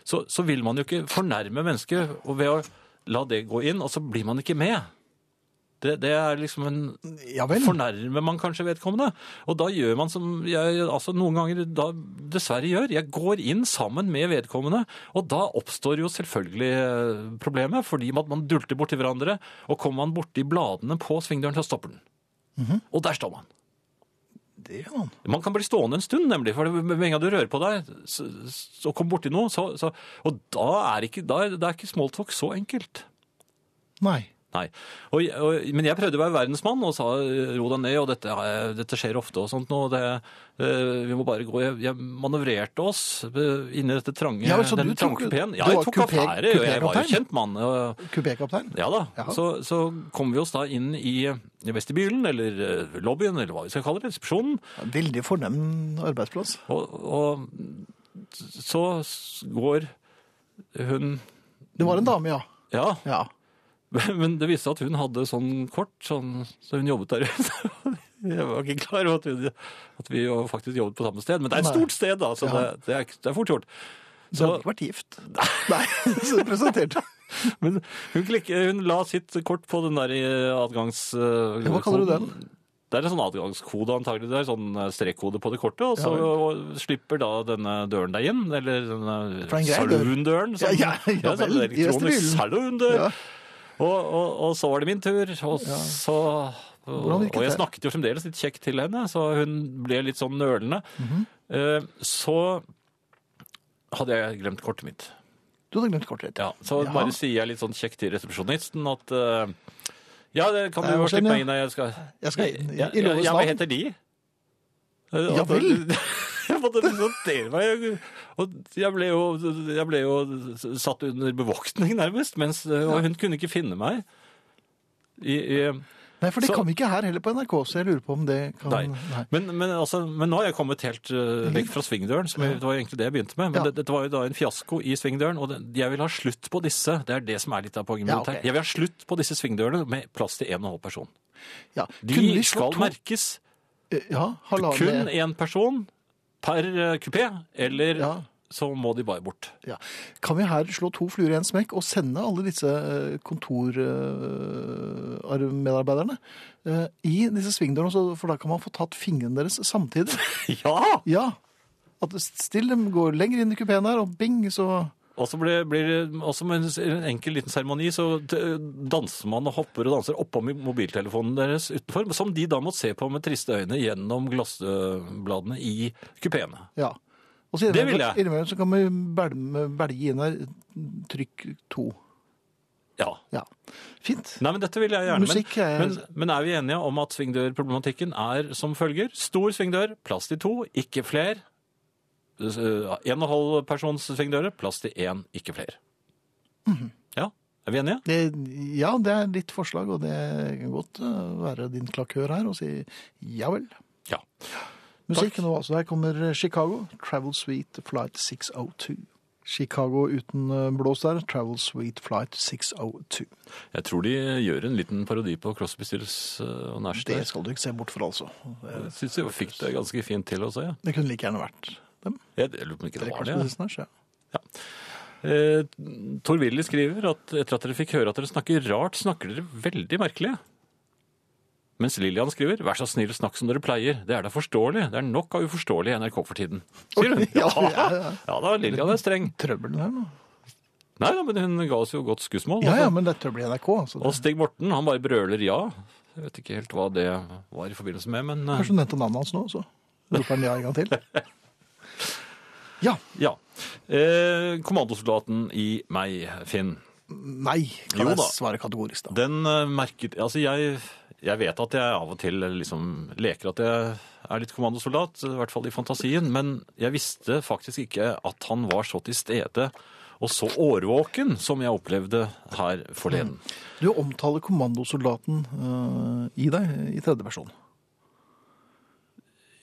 Speaker 2: så, så vil man jo ikke fornærme mennesket og ved å la det gå inn, og så blir man ikke med. Det, det er liksom en
Speaker 1: Ja vel.
Speaker 2: fornærmer man kanskje vedkommende. Og da gjør man som jeg altså noen ganger da dessverre gjør. Jeg går inn sammen med vedkommende, og da oppstår jo selvfølgelig eh, problemet, fordi at man dulter borti hverandre, og kommer man borti bladene på svingdøren, så stopper den.
Speaker 1: Mhm.
Speaker 2: Og der står man.
Speaker 1: Det gjør man.
Speaker 2: Man kan bli stående en stund, nemlig, for det- med en gang du rører på deg så, så- og kommer borti noe, så, så Og da er ikke, da er, det er ikke smalltalk så enkelt.
Speaker 1: Nei.
Speaker 2: Nei. Og, og, men jeg prøvde å være verdensmann og sa ro deg ned, og dette, er- dette skjer ofte og sånt. nå, det, eh, vi må bare gå. Jeg, jeg manøvrerte oss eh, inni dette trange,
Speaker 1: Ja, vel, så
Speaker 2: den
Speaker 1: du tok-
Speaker 2: trange kupeen. Ja,
Speaker 1: du
Speaker 2: jeg
Speaker 1: var
Speaker 2: tok
Speaker 1: kupé-
Speaker 2: affære, og jeg var jo
Speaker 1: kupékaptein?
Speaker 2: kjent mann. og-
Speaker 1: Kupékaptein?
Speaker 2: Ja da.
Speaker 1: Ja.
Speaker 2: Så, så kom vi oss da inn i vestibylen, eller eh, lobbyen, eller hva vi skal kalle det, resepsjonen.
Speaker 1: Veldig fornem arbeidsplass.
Speaker 2: Og, og så går hun
Speaker 1: Det var en dame, ja.
Speaker 2: Ja.
Speaker 1: Ja.
Speaker 2: Men det viste seg at hun hadde sånn kort, sånn, så hun jobbet der ute. Jeg var ikke klar over at, hun- at vi jo faktisk jobbet på samme sted, men det er et
Speaker 1: Nei.
Speaker 2: stort sted, da, så
Speaker 1: Ja.
Speaker 2: det, det, er, det er fort gjort.
Speaker 1: Du
Speaker 2: Så-
Speaker 1: hadde ikke vært gift. Nei, så du presenterte.
Speaker 2: Men hun, klikk- hun la sitt kort på den der eh, adgangs... eh,
Speaker 1: Ja, hva kaller du
Speaker 2: koden.
Speaker 1: den?
Speaker 2: Det er en sånn adgangskode antagelig, det er sånn eh, strekkode på det kortet, og så
Speaker 1: Ja, vel.
Speaker 2: og slipper da denne døren deg inn, eller
Speaker 1: For
Speaker 2: denne
Speaker 1: det er en grei dør.
Speaker 2: saloon-døren. som-
Speaker 1: Ja, ja, ja
Speaker 2: sånn
Speaker 1: vel, i
Speaker 2: elektronisk
Speaker 1: vestibylen.
Speaker 2: saloon-dør.
Speaker 1: Ja.
Speaker 2: Og, og, og så var det min tur, og så
Speaker 1: Hvordan
Speaker 2: og,
Speaker 1: virket
Speaker 2: jeg
Speaker 1: det?
Speaker 2: snakket jo fremdeles litt kjekt til henne, så hun ble litt sånn nølende.
Speaker 1: Mhm.
Speaker 2: Eh, så hadde jeg glemt kortet mitt.
Speaker 1: Du hadde glemt kortet ditt.
Speaker 2: Ja, så
Speaker 1: Ja.
Speaker 2: bare sier jeg litt sånn kjekt til resepsjonisten at eh, Ja, det kan
Speaker 1: Nei,
Speaker 2: du
Speaker 1: hva
Speaker 2: jo
Speaker 1: skjer
Speaker 2: slippe
Speaker 1: nå?
Speaker 2: meg inn her. Jeg skal
Speaker 1: Jeg skal inn i- i
Speaker 2: Ja, ja,
Speaker 1: lovens
Speaker 2: ja, hva
Speaker 1: navn.
Speaker 2: heter de?
Speaker 1: Ja vel.
Speaker 2: Jeg måtte presentere meg. Og jeg ble, jo, jeg ble jo satt under bevoktning, nærmest. Mens, eh, og hun kunne ikke finne meg. I, i,
Speaker 1: Nei, for det
Speaker 2: Så-
Speaker 1: kan vi ikke her heller på NRK, så jeg lurer på om det kan
Speaker 2: nei. Men, men, altså, men nå har jeg kommet helt eh, vekk fra svingdøren. Som jeg, det var egentlig det jeg begynte med. Men
Speaker 1: Mhm. Ja.
Speaker 2: det, dette var jo da en fiasko i svingdøren. Og det, jeg vil ha slutt på disse. Det er det som er litt av poenget mitt
Speaker 1: Ja, ok.
Speaker 2: her. Jeg vil ha slutt på disse svingdørene med plass til en og en halv person.
Speaker 1: Ja.
Speaker 2: De
Speaker 1: Kunne vi slå
Speaker 2: skal
Speaker 1: to- Eh,
Speaker 2: merkes.
Speaker 1: Ja,
Speaker 2: Kun
Speaker 1: halvannen
Speaker 2: én person per eh, kupé, eller
Speaker 1: Ja.
Speaker 2: så må de bare bort.
Speaker 1: ja. Kan vi her slå to fluer i en smekk og sende alle disse eh, kontormedarbeiderne eh, i disse svingdørene, så- for da kan man få tatt fingrene deres samtidig?
Speaker 2: Ja!
Speaker 1: Ja. At still dem går lenger inn i kupeen her, og bing, så
Speaker 2: Og så blir, blir det- også med en en enkel liten seremoni så d- danser man og hopper og danser oppå mi- mobiltelefonen deres utenfor, som de da må se på med triste øyne gjennom glassbladene i kupeene.
Speaker 1: Ja. Og så
Speaker 2: Det
Speaker 1: innimellom-
Speaker 2: vil jeg.
Speaker 1: Innimellom så kan vi belme- belge inn her. Trykk to.
Speaker 2: Ja.
Speaker 1: Ja. Fint.
Speaker 2: Nei, men dette vil jeg gjerne.
Speaker 1: Musikk er-
Speaker 2: Men, men, men er vi enige om at svingdørproblematikken er som følger? Stor svingdør, plass til to, ikke fler. Eh, En og halv persons svingdører, plass til én, ikke fler.
Speaker 1: Mhm.
Speaker 2: Ja, er vi enige?
Speaker 1: Det, ja, det er ditt forslag, og det kan godt øh, være din klakør her og si ja vel.
Speaker 2: Ja.
Speaker 1: Musikk nå, altså. Her kommer Chicago. Travel Suite Flight 602. Chicago uten øh, blås der. Travel Suite Flight 602.
Speaker 2: Jeg tror de gjør en liten parodi på Crosby, Stills og Nash.
Speaker 1: Det
Speaker 2: der.
Speaker 1: skal du ikke se bort fra, altså.
Speaker 2: Jeg syns jeg fikk det ganske fint til også, ja.
Speaker 1: Det kunne like gjerne vært dem.
Speaker 2: Jeg lurer på om ikke det
Speaker 1: Eller
Speaker 2: var
Speaker 1: kanskje
Speaker 2: det. ja.
Speaker 1: det snart, ja.
Speaker 2: Eh, Tor Willy skriver at etter at dere fikk høre at dere snakker rart, snakker dere veldig merkelig. Mens Lillian skriver 'Vær så snill, snakk som dere pleier'. Det er da forståelig. Det er nok av uforståelig i NRK for tiden. Sier hun.
Speaker 1: Oi, ja, ja, ja.
Speaker 2: ja da, Lillian er streng.
Speaker 1: Trøbbel der nå.
Speaker 2: Nei da, men hun ga oss jo godt skussmål.
Speaker 1: Ja, ja, men det er trøbbel i NRK. Altså.
Speaker 2: Og Stig Morten, han bare brøler ja. Jeg vet ikke helt hva det var i forbindelse med, men eh,
Speaker 1: Kanskje du nevnte navnet hans nå, så roper han ja en gang til. Ja.
Speaker 2: ja. Eh, kommandosoldaten i meg, Finn.
Speaker 1: Nei, kan
Speaker 2: Jo da.
Speaker 1: jeg svare kategorisk, da.
Speaker 2: Den eh, merket Altså, jeg, jeg vet at jeg av og til liksom leker at jeg er litt kommandosoldat, i hvert fall i fantasien, men jeg visste faktisk ikke at han var så til stede og så årvåken som jeg opplevde her forleden.
Speaker 1: Du omtaler kommandosoldaten øh, i deg i tredje person.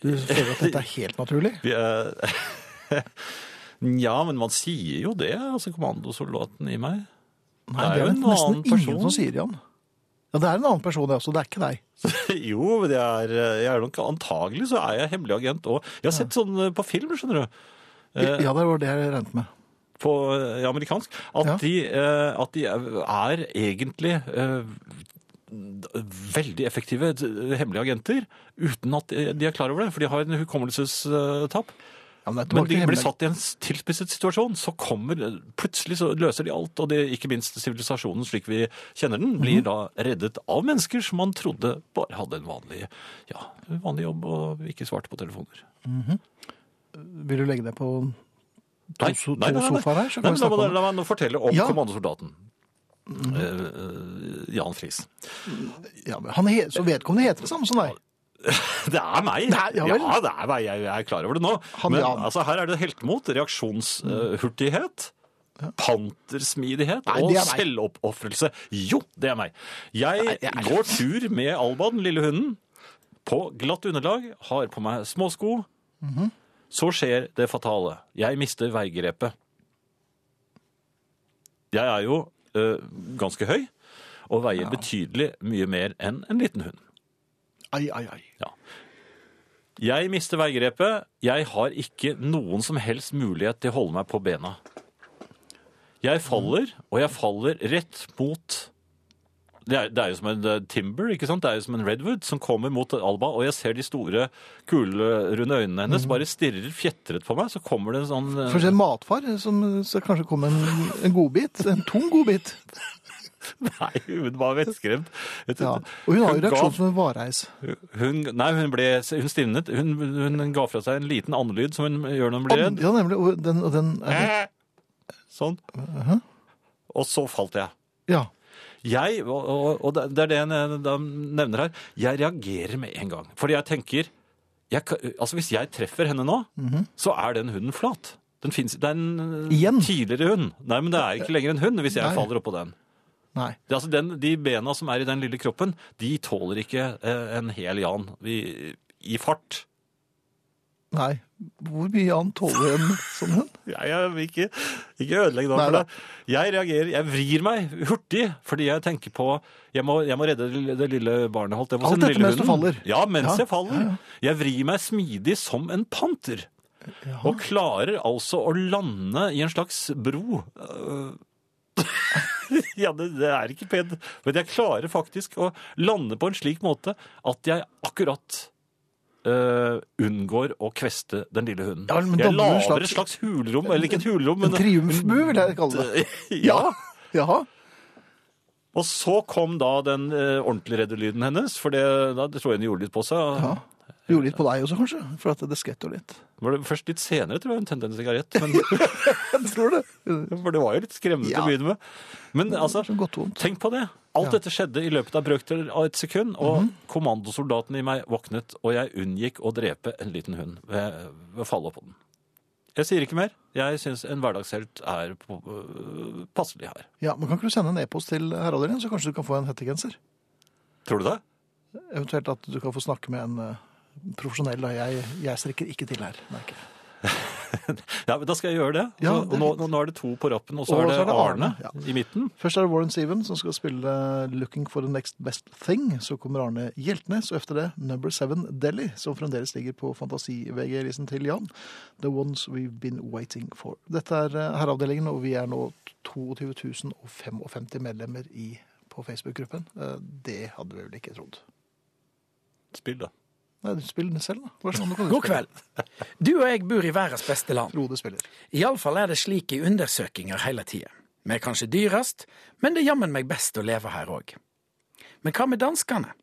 Speaker 1: Du føler at dette er helt naturlig?
Speaker 2: Vi er Nja, men man sier jo det, altså kommandosoldaten i meg.
Speaker 1: Nei,
Speaker 2: Det
Speaker 1: det
Speaker 2: er
Speaker 1: er
Speaker 2: jo
Speaker 1: vel
Speaker 2: en
Speaker 1: nesten
Speaker 2: annen person.
Speaker 1: ingen som sier Jan. Ja, det er en annen person, det også. Det er ikke deg.
Speaker 2: jo, men jeg er, eh, jeg er nok antagelig så er jeg hemmelig agent òg. Jeg har sett sånn på film, skjønner du. Eh,
Speaker 1: Ja, det var det jeg regnet med.
Speaker 2: på eh, amerikansk, at,
Speaker 1: Ja.
Speaker 2: de, eh, at de er egentlig eh, veldig effektive eh, hemmelige agenter, uten at de er klar over det, for de har en hukommelsestapp.
Speaker 1: Ja, men det er
Speaker 2: Men
Speaker 1: tilbake
Speaker 2: de
Speaker 1: til
Speaker 2: blir
Speaker 1: hemmelig-
Speaker 2: satt i en tilspisset situasjon, så kommer plutselig så løser de alt, og det, ikke minst sivilisasjonen slik vi kjenner den,
Speaker 1: Mhm.
Speaker 2: blir da reddet av mennesker som man trodde bare hadde en vanlig, ja, vanlig jobb og ikke svarte på telefoner.
Speaker 1: Vil du legge deg på to,
Speaker 2: Nei,
Speaker 1: so-
Speaker 2: nei,
Speaker 1: to
Speaker 2: nei, nei.
Speaker 1: sofaer her, så
Speaker 2: Nei,
Speaker 1: kan
Speaker 2: men
Speaker 1: vi
Speaker 2: la,
Speaker 1: snakke
Speaker 2: meg,
Speaker 1: om det?
Speaker 2: la meg nå fortelle om
Speaker 1: Ja. Mm.
Speaker 2: kommandosoldaten. Eh, eh, Jan Friis.
Speaker 1: Ja, men han he, så vedkommende heter det samme som deg.
Speaker 2: Det er meg!
Speaker 1: Nei, ja
Speaker 2: ja,
Speaker 1: vel.
Speaker 2: det er meg. Jeg, jeg er klar over det nå.
Speaker 1: Han
Speaker 2: Men
Speaker 1: Jan.
Speaker 2: altså, her er det heltemot, reaksjonshurtighet, pantersmidighet
Speaker 1: Nei,
Speaker 2: og
Speaker 1: det er meg.
Speaker 2: selvoppofrelse. Jo, det er meg. Jeg går tur med Alba, den lille hunden, på glatt underlag, har på meg småsko.
Speaker 1: Mhm.
Speaker 2: Så skjer det fatale. Jeg mister veigrepet. Jeg er jo ø, ganske høy og veier betydelig mye mer enn en liten hund.
Speaker 1: Ai, ai, ai.
Speaker 2: Jeg mister veigrepet. Jeg har ikke noen som helst mulighet til å holde meg på bena. Jeg faller, og jeg faller rett mot det er, det er jo som en eh, timber, ikke sant? Det er jo som en redwood som kommer mot Alba, og jeg ser de store, kulerunde øynene hennes
Speaker 1: Mhm.
Speaker 2: bare stirrer fjetret på meg, så kommer det en sånn eh,
Speaker 1: Først en matfar som så kanskje kom en, en godbit. En tung godbit.
Speaker 2: Nei, hun var vettskremt. Vet du,
Speaker 1: Ja. Og hun har jo
Speaker 2: ga-
Speaker 1: reaksjon som en vareis.
Speaker 2: hun, Nei, hun ble Hun stivnet. Hun, hun ga fra seg en liten andelyd som hun gjør når hun blir redd.
Speaker 1: Ja, nemlig. Og den, og den er,
Speaker 2: Sånn. Og så falt jeg.
Speaker 1: Ja.
Speaker 2: Jeg, og, og- og det det er det jeg ne- da nevner her, jeg reagerer med en gang. Fordi jeg tenker jeg, kan- altså Hvis jeg treffer henne nå, så er den hunden flat. Den finnes, det er en
Speaker 1: Mhm.
Speaker 2: eh,
Speaker 1: Igjen?
Speaker 2: tidligere hund. Nei, men det er ikke lenger en hund hvis jeg
Speaker 1: Nei.
Speaker 2: faller oppå den.
Speaker 1: Nei.
Speaker 2: Det, er altså den. De bena som er i den lille kroppen, de tåler ikke eh, en hel Jan i, i fart.
Speaker 1: Nei. Hvor mye annet tåler en sånn hund?
Speaker 2: Jeg, jeg vil ikke, ikke ødelegge noe
Speaker 1: Nei
Speaker 2: for
Speaker 1: da.
Speaker 2: deg. Jeg reagerer, jeg vrir meg hurtig, fordi jeg tenker på Jeg må, jeg må redde det lille- det lille barnet. Holdt jeg på, å si,
Speaker 1: Alt
Speaker 2: den
Speaker 1: dette
Speaker 2: lille
Speaker 1: mens du
Speaker 2: hunden.
Speaker 1: faller.
Speaker 2: Ja, mens
Speaker 1: Ja,
Speaker 2: jeg faller. Jeg vrir meg smidig som en panter. Og klarer altså å lande i en slags bro. Øh. ja, det, det er ikke pent. Men jeg klarer faktisk å lande på en slik måte at jeg akkurat øh, unngår å kveste den lille hunden.
Speaker 1: Ja, men
Speaker 2: jeg
Speaker 1: danner du en
Speaker 2: lager et
Speaker 1: slags-
Speaker 2: slags hulrom, eller ikke et hulrom,
Speaker 1: En
Speaker 2: men
Speaker 1: triumfbue, vil jeg kalle det.
Speaker 2: ja.
Speaker 1: Jaha.
Speaker 2: Og så kom da den eh, ordentlige reddelyden hennes, for det, da tror jeg hun gjorde litt på seg.
Speaker 1: Ja. Du gjorde litt på deg også, kanskje? For at det skvetter jo litt.
Speaker 2: Var det først litt senere, tror jeg, hun tente en sigarett. Men,
Speaker 1: Jeg tror det.
Speaker 2: for det var jo litt skremmende
Speaker 1: Ja.
Speaker 2: til å begynne med. Men altså,
Speaker 1: Så godt vondt.
Speaker 2: tenk på det. Alt dette skjedde i løpet av brøkdeler av et sekund, og
Speaker 1: Mhm.
Speaker 2: kommandosoldaten i meg våknet, og jeg unngikk å drepe en liten hund ved, ved å falle på den. Jeg sier ikke mer. Jeg syns en hverdagshelt er på, øh, passelig her.
Speaker 1: Ja, men Kan ikke du sende en e-post til Harald Irén, så kanskje du kan få en hettegenser?
Speaker 2: Tror du det?
Speaker 1: Eventuelt at du kan få snakke med en eh, profesjonell. da. Jeg, jeg strekker ikke til her. merker jeg.
Speaker 2: Ja, men Da skal jeg gjøre det.
Speaker 1: Ja,
Speaker 2: Så-
Speaker 1: det er
Speaker 2: nå,
Speaker 1: fint.
Speaker 2: nå er det to på rappen, og så
Speaker 1: Og
Speaker 2: er det Arne, i midten.
Speaker 1: Først er det Warren Steven som skal spille 'Looking for the Next Best Thing'. Så kommer Arne Hjeltnes, og etter det Number Seven Delhi, som fremdeles ligger på Fantasi-VG-listen til Jan. 'The Ones We've Been Waiting For'. Dette er eh, Herreavdelingen, og vi er nå 22.055 medlemmer i, på Facebook-gruppen. Eh, Det hadde vi vel ikke trodd.
Speaker 2: Spill, da.
Speaker 1: Nei, du spiller den selv, da. Vær så snill, nå kan du
Speaker 3: God
Speaker 1: spille.
Speaker 3: kveld. Du og jeg bor i verdens beste land.
Speaker 1: Frode spiller.
Speaker 3: Iallfall er det slik i undersøkinger hele tida. Vi er kanskje dyrest, men det er jammen meg best å leve her òg. Men hva med danskene?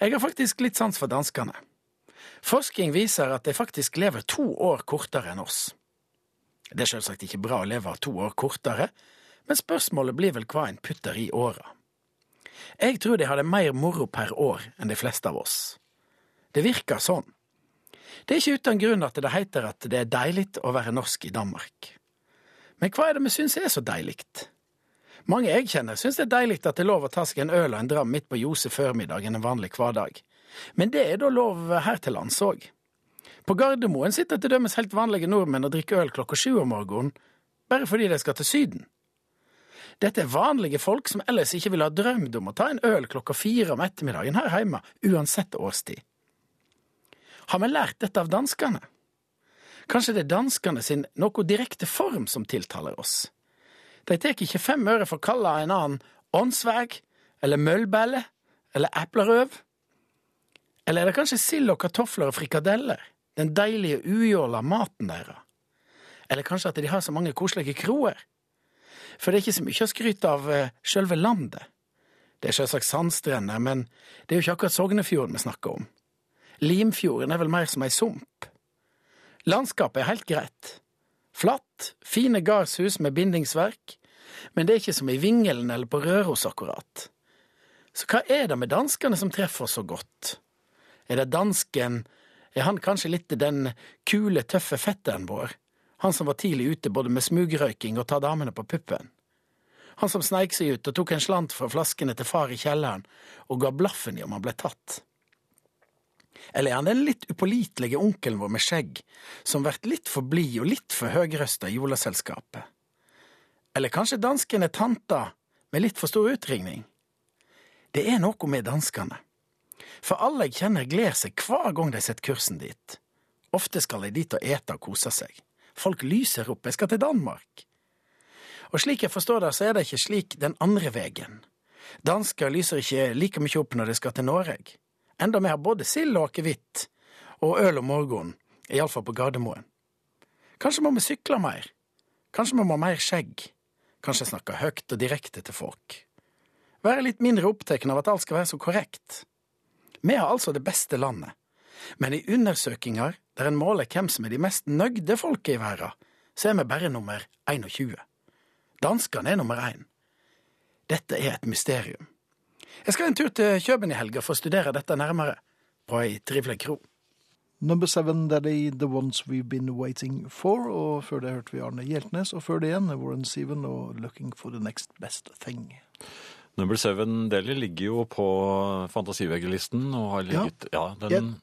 Speaker 3: Jeg har faktisk litt sans for danskene. Forskning viser at de faktisk lever to år kortere enn oss. Det er selvsagt ikke bra å leve to år kortere, men spørsmålet blir vel hva en putter i åra. Jeg tror de har det mer moro per år enn de fleste av oss. Det virker sånn. Det er ikke uten grunn at det heter at det er deilig å være norsk i Danmark. Men hva er det vi syns er så deilig? Mange jeg kjenner, syns det er deilig at det er lov å ta seg en øl og en dram midt på ljose førmiddag en vanlig hverdag. Men det er da lov her til lands òg. På Gardermoen sitter til dømmes helt vanlige nordmenn og drikker øl klokka sju om morgenen, bare fordi de skal til Syden. Dette er vanlige folk som ellers ikke ville ha drømt om å ta en øl klokka fire om ettermiddagen her hjemme, uansett årstid. Har vi lært dette av danskene? Kanskje det er danskene sin noe direkte form som tiltaler oss? De tar ikke fem øre for å kalle en annen åndsveg, eller møllbelle, eller eplerøv. Eller er det kanskje sild og kartofler og frikadeller, den deilige ujåla maten deres? Eller kanskje at de har så mange koselige kroer? For det er ikke så mye å skryte av eh, sjølve landet. Det er sjølsagt sandstrender, men det er jo ikke akkurat Sognefjorden vi snakker om. Limfjorden er vel mer som ei sump. Landskapet er helt greit. Flatt, fine gardshus med bindingsverk, men det er ikke som i Vingelen eller på Røros akkurat. Så hva er det med danskene som treffer oss så godt? Er det dansken, er han kanskje litt den kule, tøffe fetteren vår, han som var tidlig ute både med smugrøyking og ta damene på puppen? Han som sneik seg ut og tok en slant fra flaskene til far i kjelleren og ga blaffen i om han ble tatt. Eller er han den litt upålitelige onkelen vår med skjegg, som vært litt for blid og litt for høgrøsta i juleselskapet? Eller kanskje dansken er tanta med litt for stor utringning? Det er noe med danskene. For alle jeg kjenner gleder seg hver gang de setter kursen dit. Ofte skal de dit og ete og kose seg. Folk lyser opp, jeg skal til Danmark. Og slik jeg forstår det, så er det ikke slik den andre vegen. Dansker lyser ikke like mye opp når de skal til Norge. Enda vi har både sild og akevitt og øl om morgenen, iallfall på Gardermoen. Kanskje må vi sykle mer? Kanskje vi må ha mer skjegg? Kanskje snakke høyt og direkte til folk? Være litt mindre opptatt av at alt skal være så korrekt. Vi har altså det beste landet, men i undersøkinger der en måler hvem som er de mest nøgde folket i verden, så er vi bare nummer 21. Danskene er nummer én. Dette er et mysterium. Jeg skal en tur til Kjøben i helga for å studere dette nærmere, på ei trivelig kro.
Speaker 1: Number seven, that is The Ones We've Been Waiting For. Og før det hørte vi Arne Hjeltnes, og før det igjen Warren Seven og Looking for the Next Best Thing.
Speaker 2: Number Seven Deli ligger jo på fantasiveggelisten og har ligget Ja, den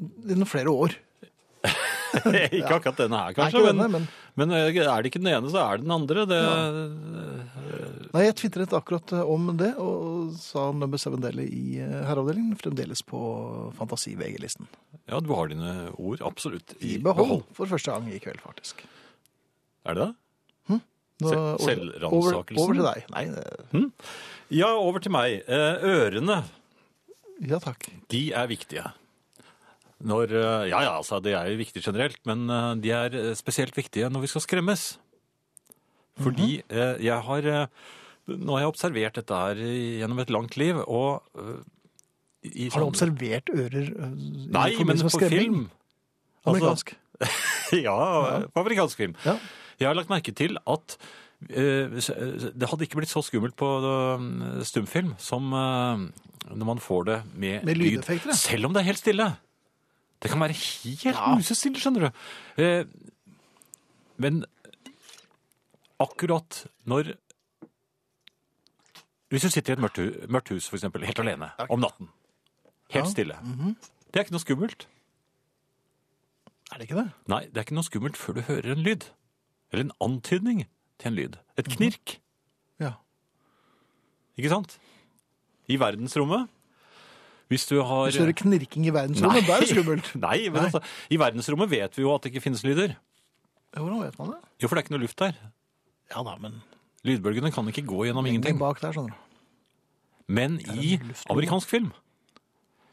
Speaker 1: Innen flere år.
Speaker 2: Ikke akkurat denne her,
Speaker 1: Nei,
Speaker 2: kanskje,
Speaker 1: ikke denne,
Speaker 2: men,
Speaker 1: men
Speaker 2: men eh, er det ikke den ene, så er det den andre. Det,
Speaker 1: Nei, jeg tvitret akkurat eh, om det, og sa nummer seven deli i eh, herreavdelingen, fremdeles på Fantasi-VG-listen.
Speaker 2: Ja, du har dine ord absolutt
Speaker 1: I behold, for første gang i kveld, faktisk.
Speaker 2: Er det det?
Speaker 1: Nå-
Speaker 2: Se-
Speaker 1: over-
Speaker 2: selvransakelsen?
Speaker 1: Over, over til deg. Nei, det-
Speaker 2: Ja, over til meg. Eh, Ørene,
Speaker 1: ja takk.
Speaker 2: de er viktige. Når, eh, ja, ja, altså, det er jo viktig generelt, men eh, de er eh, spesielt viktige når vi skal skremmes. Fordi
Speaker 1: Mhm.
Speaker 2: eh, jeg har eh, Nå har jeg observert dette her gjennom et langt liv, og eh, i-
Speaker 1: Har du
Speaker 2: sånn-
Speaker 1: observert ører eh, i
Speaker 2: Nei, men
Speaker 1: forbindelse med
Speaker 2: på
Speaker 1: skremming?
Speaker 2: film.
Speaker 1: Amerikansk.
Speaker 2: ja, på amerikansk film.
Speaker 1: Ja.
Speaker 2: Jeg har lagt merke til at eh, det hadde ikke blitt så skummelt på eh, stumfilm som eh, når man får det med,
Speaker 1: Med
Speaker 2: lyd.
Speaker 1: lydeffekter, ja.
Speaker 2: Selv om det er helt stille. Det kan være helt musestille, skjønner du. Eh, men akkurat når Hvis du sitter i et mørkt, hu- mørkt hus, for eksempel, helt alene om natten. Helt
Speaker 1: Ja. Mhm.
Speaker 2: stille. Det er ikke noe skummelt.
Speaker 1: Er det ikke det?
Speaker 2: Nei, det er ikke noe skummelt før du hører en lyd. Eller en antydning til en lyd. Et
Speaker 1: Mhm.
Speaker 2: knirk.
Speaker 1: Ja.
Speaker 2: Ikke sant? I verdensrommet. Hvis du har
Speaker 1: Hvis du hører knirking i verdensrommet, da er det skummelt.
Speaker 2: Nei, men
Speaker 1: Nei.
Speaker 2: altså, i verdensrommet vet vi jo at det ikke finnes lyder.
Speaker 1: Hvordan vet man det?
Speaker 2: Jo, for det er ikke noe luft der.
Speaker 1: Ja da, men
Speaker 2: Lydbølgene kan ikke gå gjennom ingenting.
Speaker 1: bak der, skjønner du.
Speaker 2: Men i amerikansk film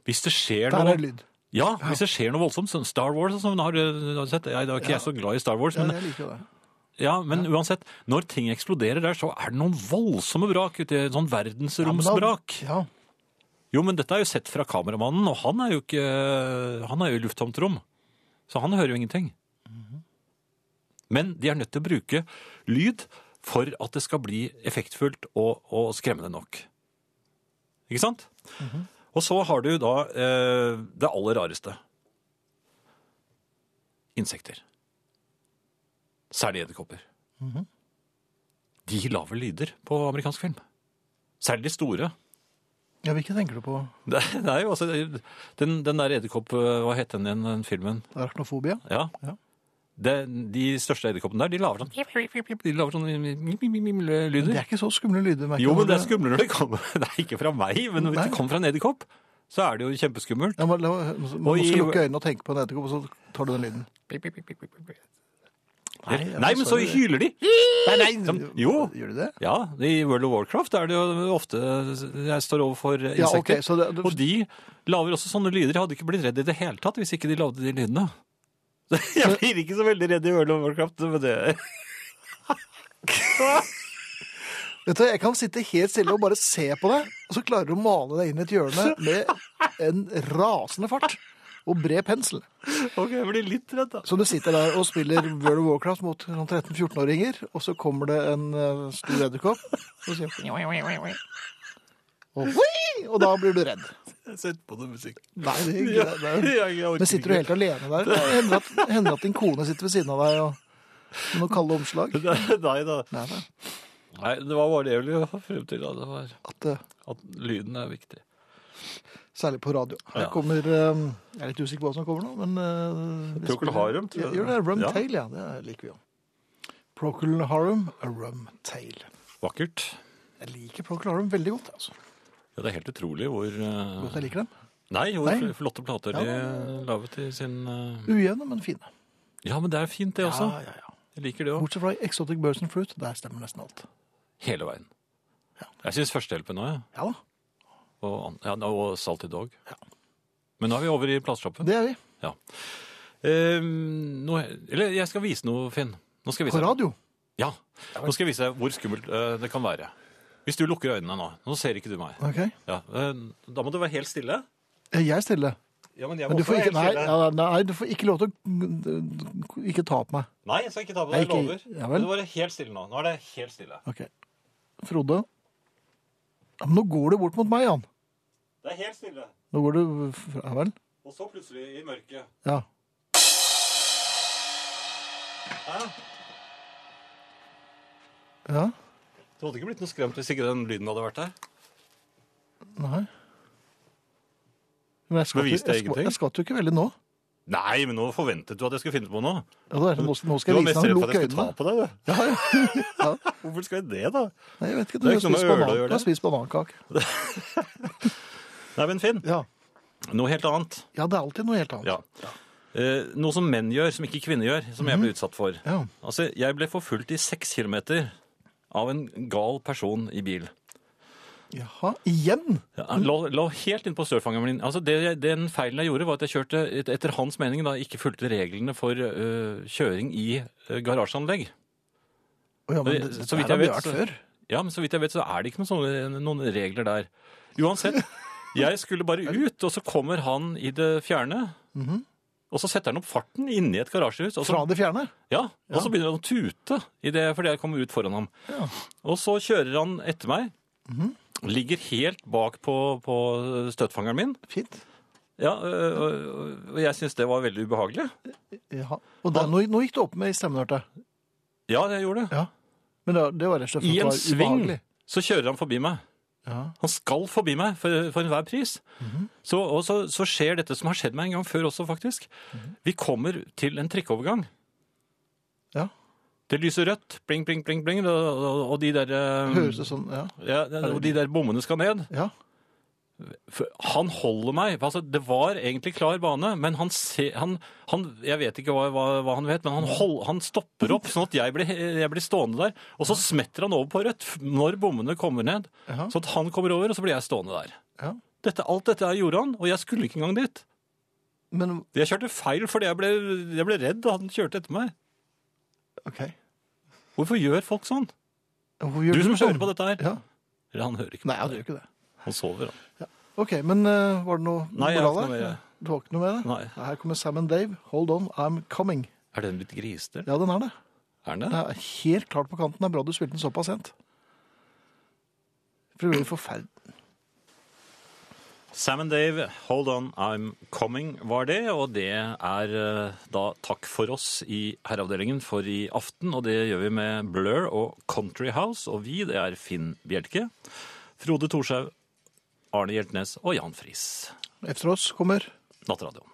Speaker 2: Hvis det skjer
Speaker 1: Der
Speaker 2: noe
Speaker 1: er det lyd.
Speaker 2: Ja, hvis det skjer noe voldsomt, sånn Star Wars og sånn, har du har du sett, jeg, da er ikke jeg så glad i Star Wars,
Speaker 1: Ja,
Speaker 2: men,
Speaker 1: jeg liker jo det.
Speaker 2: ja, men uansett, når ting eksploderer der, så er det noen voldsomme brak ute i sånn verdensromsbrak.
Speaker 1: Ja, men da-
Speaker 2: Jo, men dette er jo sett fra kameramannen, og han er jo ikke, han er jo i lufttomt rom, så han hører jo ingenting. Men de er nødt til å bruke lyd for at det skal bli effektfullt og, og skremmende nok. Ikke sant? Og så har du da eh, det aller rareste. Insekter. Særlig edderkopper. De lager lyder på amerikansk film. Særlig de store.
Speaker 1: ja. ja, hvilke tenker du på?
Speaker 2: Det, det er jo altså Den, den der edderkopp... eh, Hva het den igjen, den filmen?
Speaker 1: Arachnofobia?
Speaker 2: Ja.
Speaker 1: Ja.
Speaker 2: Det, de største edderkoppene der, de lager sånn De lager sånn
Speaker 1: Det
Speaker 2: lyder.
Speaker 1: er ikke så skumle lyder. merker
Speaker 2: Jo,
Speaker 1: jeg.
Speaker 2: men det er skumlere når det kommer Det er ikke fra meg, men hvis
Speaker 1: Nei.
Speaker 2: det kommer fra en edderkopp, så er det jo kjempeskummelt.
Speaker 1: Ja, men, la, man
Speaker 2: Og i-
Speaker 1: skal lukke øynene og tenke på en edderkopp, og så tar du den lyden.
Speaker 2: Nei,
Speaker 1: ja,
Speaker 2: men
Speaker 1: så
Speaker 2: så
Speaker 1: er det-
Speaker 2: hyler de! Som- jo.
Speaker 1: Gjør du det?
Speaker 2: Ja, i World of Warcraft er det jo ofte jeg står overfor
Speaker 1: Ja, ok.
Speaker 2: insekter.
Speaker 1: Så det,
Speaker 2: Og de lager også sånne lyder. Jeg hadde ikke blitt redd i det hele tatt hvis ikke de lagde de lydene. Jeg blir ikke så veldig redd i World of Warcraft, men det
Speaker 1: Vet du, jeg kan sitte helt stille og bare se på deg, og så klarer du å male deg inn i et hjørne med en rasende fart og bred pensel.
Speaker 2: Ok, jeg blir litt redd, da.
Speaker 1: Så du sitter der og spiller World of Warcraft mot sånn 13-14-åringer, og så kommer det en eh, stor edderkopp, og sier og, «Hui!» og da blir du redd.
Speaker 2: Sett på noe musikk.
Speaker 1: Nei, det er ikke det. det er... Men sitter du helt alene der? Det hender at, hender at din kone sitter ved siden av deg og med noen kalde omslag?
Speaker 2: Nei da.
Speaker 1: Nei, nei.
Speaker 2: Nei, det var bare det jeg ville frem til. Da. Det var
Speaker 1: At, eh,
Speaker 2: at lyden er viktig.
Speaker 1: særlig på radio. Her
Speaker 2: Ja.
Speaker 1: kommer eh, Jeg er litt usikker på hva som kommer nå, men eh, vi
Speaker 2: Procol
Speaker 1: spiller-
Speaker 2: Harum, tror jeg.
Speaker 1: Ja, det er Rum
Speaker 2: Ja.
Speaker 1: Tail, ja. Det liker vi jo. Procol Harum, a Rum Tail.
Speaker 2: Vakkert.
Speaker 1: Jeg liker Procol Harum veldig godt. altså.
Speaker 2: Ja, det er helt utrolig hvor eh,
Speaker 1: Godt jeg liker dem.
Speaker 2: Nei, hvor
Speaker 1: Nei.
Speaker 2: fl- flotte plater de laget i sin eh,
Speaker 1: Ujevne, men fine.
Speaker 2: Ja, men det er fint, det også.
Speaker 1: ja, ja.
Speaker 2: Jeg liker det òg.
Speaker 1: Bortsett fra Exotic Birds and Fruit, der stemmer nesten alt.
Speaker 2: Hele veien. Jeg syns førstehjelpen òg, jeg.
Speaker 1: Ja da,
Speaker 2: Og, an- ja, og Salty Dog. Men nå er vi over i plateshoppen.
Speaker 1: det er vi.
Speaker 2: Ja. Eh, nå, eller jeg skal vise noe, Finn. Nå skal jeg vise
Speaker 1: På
Speaker 2: deg.
Speaker 1: radio.
Speaker 2: Ja. Nå skal jeg vise deg hvor skummelt eh, det kan være. Hvis du lukker øynene nå. Nå ser ikke du meg.
Speaker 1: Ok.
Speaker 2: Ja. eh, da må du være helt stille.
Speaker 1: Eh, Jeg stiller.
Speaker 2: Ja, men jeg
Speaker 1: Men
Speaker 2: må
Speaker 1: du
Speaker 2: også
Speaker 1: får
Speaker 2: være
Speaker 1: ikke,
Speaker 2: helt
Speaker 1: nei,
Speaker 2: stille.
Speaker 1: ja, nei, du får ikke lov til å Ikke ta på meg.
Speaker 2: Nei, jeg skal ikke ta på
Speaker 1: Nei,
Speaker 2: deg. Jeg
Speaker 1: ikke-
Speaker 2: lover.
Speaker 1: ja vel.
Speaker 2: Men du må være helt stille nå. Nå er det helt stille.
Speaker 1: Ok. Frode. Ja, men nå går du bort mot meg, Jan.
Speaker 2: Det er helt stille.
Speaker 1: Nå går du fra Ja vel?
Speaker 2: Og så plutselig, i mørket
Speaker 1: Ja.
Speaker 2: Hæ?
Speaker 1: Ja?
Speaker 2: Du hadde ikke blitt noe skremt hvis ikke den lyden hadde vært der?
Speaker 1: Nei. Men jeg skvatt, jo-
Speaker 2: Bevis deg
Speaker 1: jeg, skvatt,
Speaker 2: ingenting.
Speaker 1: jeg skvatt jo ikke veldig nå.
Speaker 2: Nei, men nå forventet du at jeg skulle finne på noe.
Speaker 1: Ja, da er det, nå, nå
Speaker 2: Du
Speaker 1: skal
Speaker 2: var
Speaker 1: jeg
Speaker 2: mest
Speaker 1: vise deg
Speaker 2: redd for at
Speaker 1: lukke
Speaker 2: jeg skulle
Speaker 1: øynene.
Speaker 2: ta på deg, du.
Speaker 1: Ja, ja. ja.
Speaker 2: Hvorfor skal jeg det, da?
Speaker 1: Nei, jeg vet ikke. Du
Speaker 2: Det er
Speaker 1: har
Speaker 2: ikke
Speaker 1: spist,
Speaker 2: noe med øl å
Speaker 1: banan, du
Speaker 2: gjøre
Speaker 1: har
Speaker 2: det.
Speaker 1: spist banankake.
Speaker 2: Nei, men Finn,
Speaker 1: Ja.
Speaker 2: noe helt annet.
Speaker 1: ja, det er alltid noe helt annet.
Speaker 2: Ja. Eh, noe som menn gjør, som ikke kvinner gjør, som jeg ble utsatt for.
Speaker 1: Mhm. Ja.
Speaker 2: Altså, jeg ble forfulgt i seks kilometer av en gal person i bil.
Speaker 1: Jaha. Igjen?
Speaker 2: Ja, Han lå, lå helt inn på størfangeren min. Altså, det, jeg- den feilen jeg gjorde, var at jeg kjørte, et- etter hans mening, da ikke fulgte reglene for eh, kjøring i eh, garasjeanlegg.
Speaker 1: Å, ja, men
Speaker 2: Det-
Speaker 1: det,
Speaker 2: så
Speaker 1: dette
Speaker 2: vidt jeg
Speaker 1: har vi
Speaker 2: vet,
Speaker 1: hørt
Speaker 2: så-
Speaker 1: før.
Speaker 2: Ja, men så vidt jeg vet, så er det ikke noen, sånne, noen regler der. Uansett, jeg skulle bare ut, og så kommer han i det fjerne,
Speaker 1: Mhm.
Speaker 2: og så setter han opp farten inne i et garasjehus, og så
Speaker 1: Fra det fjerne?
Speaker 2: Ja, og så begynner han å tute i det, fordi jeg kommer ut foran ham. Og så kjører han etter meg.
Speaker 1: Mhm.
Speaker 2: Ligger helt bak på, på støtfangeren min.
Speaker 1: Fint.
Speaker 2: Ja, øh, øh, og jeg syns det var veldig ubehagelig.
Speaker 1: Jaha. Og da, nå, nå gikk det opp med i stemmen, hørte jeg.
Speaker 2: Ja, jeg gjorde det.
Speaker 1: Ja. Men det, var- det var rett og slett for
Speaker 2: I
Speaker 1: at det
Speaker 2: en
Speaker 1: var
Speaker 2: sving
Speaker 1: ubehagelig.
Speaker 2: så kjører han forbi meg.
Speaker 1: Ja.
Speaker 2: Han skal forbi meg for, for enhver pris.
Speaker 1: Mhm.
Speaker 2: så, og så, så skjer dette som har skjedd meg en gang før også, faktisk.
Speaker 1: Mhm.
Speaker 2: Vi kommer til en trikkeovergang.
Speaker 1: Ja.
Speaker 2: Det lyser rødt, bling, bling, bling, bling, og, og, og de der, øh,
Speaker 1: Høres det sånn Ja.
Speaker 2: ja, og de der bommene skal ned.
Speaker 1: ja.
Speaker 2: For han holder meg. Altså, det var egentlig klar bane, men han ser han, han, Jeg vet ikke hva, hva, hva han vet, men han, hold, han stopper opp, sånn at jeg blir, jeg blir stående der. Og så smetter han over på rødt f- når bommene kommer ned.
Speaker 1: Jaha.
Speaker 2: Sånn at han kommer over, og så blir jeg stående der.
Speaker 1: ja.
Speaker 2: Dette, alt dette er gjorde han, og jeg skulle ikke engang dit.
Speaker 1: Men
Speaker 2: Jeg kjørte feil fordi jeg ble, jeg ble redd da han kjørte etter meg.
Speaker 1: OK.
Speaker 2: Hvorfor gjør folk sånn?
Speaker 1: Hvorfor
Speaker 2: Du
Speaker 1: gjør
Speaker 2: som
Speaker 1: sånn?
Speaker 2: hører på dette her.
Speaker 1: Ja.
Speaker 2: Eller han hører ikke.
Speaker 1: Nei, han gjør ikke det.
Speaker 2: Han sover, han.
Speaker 1: OK, men eh, var det noe
Speaker 2: Nei, jeg har
Speaker 1: moral
Speaker 2: ikke noe
Speaker 1: her?
Speaker 2: mer.
Speaker 1: Du har ikke noe med det?
Speaker 2: Nei.
Speaker 1: Her kommer Sam and Dave. Hold on, I'm coming.
Speaker 2: Er den blitt grisete?
Speaker 1: Ja, den er det.
Speaker 2: Er den
Speaker 1: Det
Speaker 2: det?
Speaker 1: er helt klart på kanten. Det er bra du spilte den såpass sent. For det blir forferdelig.
Speaker 2: Sam and Dave, Hold On, I'm Coming var det, og det er eh, da takk for oss i herreavdelingen for i aften, og det gjør vi med Blur og Country House, og vi, det er Finn Bjelke, Frode Torshaug, Arne Hjeltnes og Jan Friis.
Speaker 1: Efter oss kommer
Speaker 2: Nattradioen.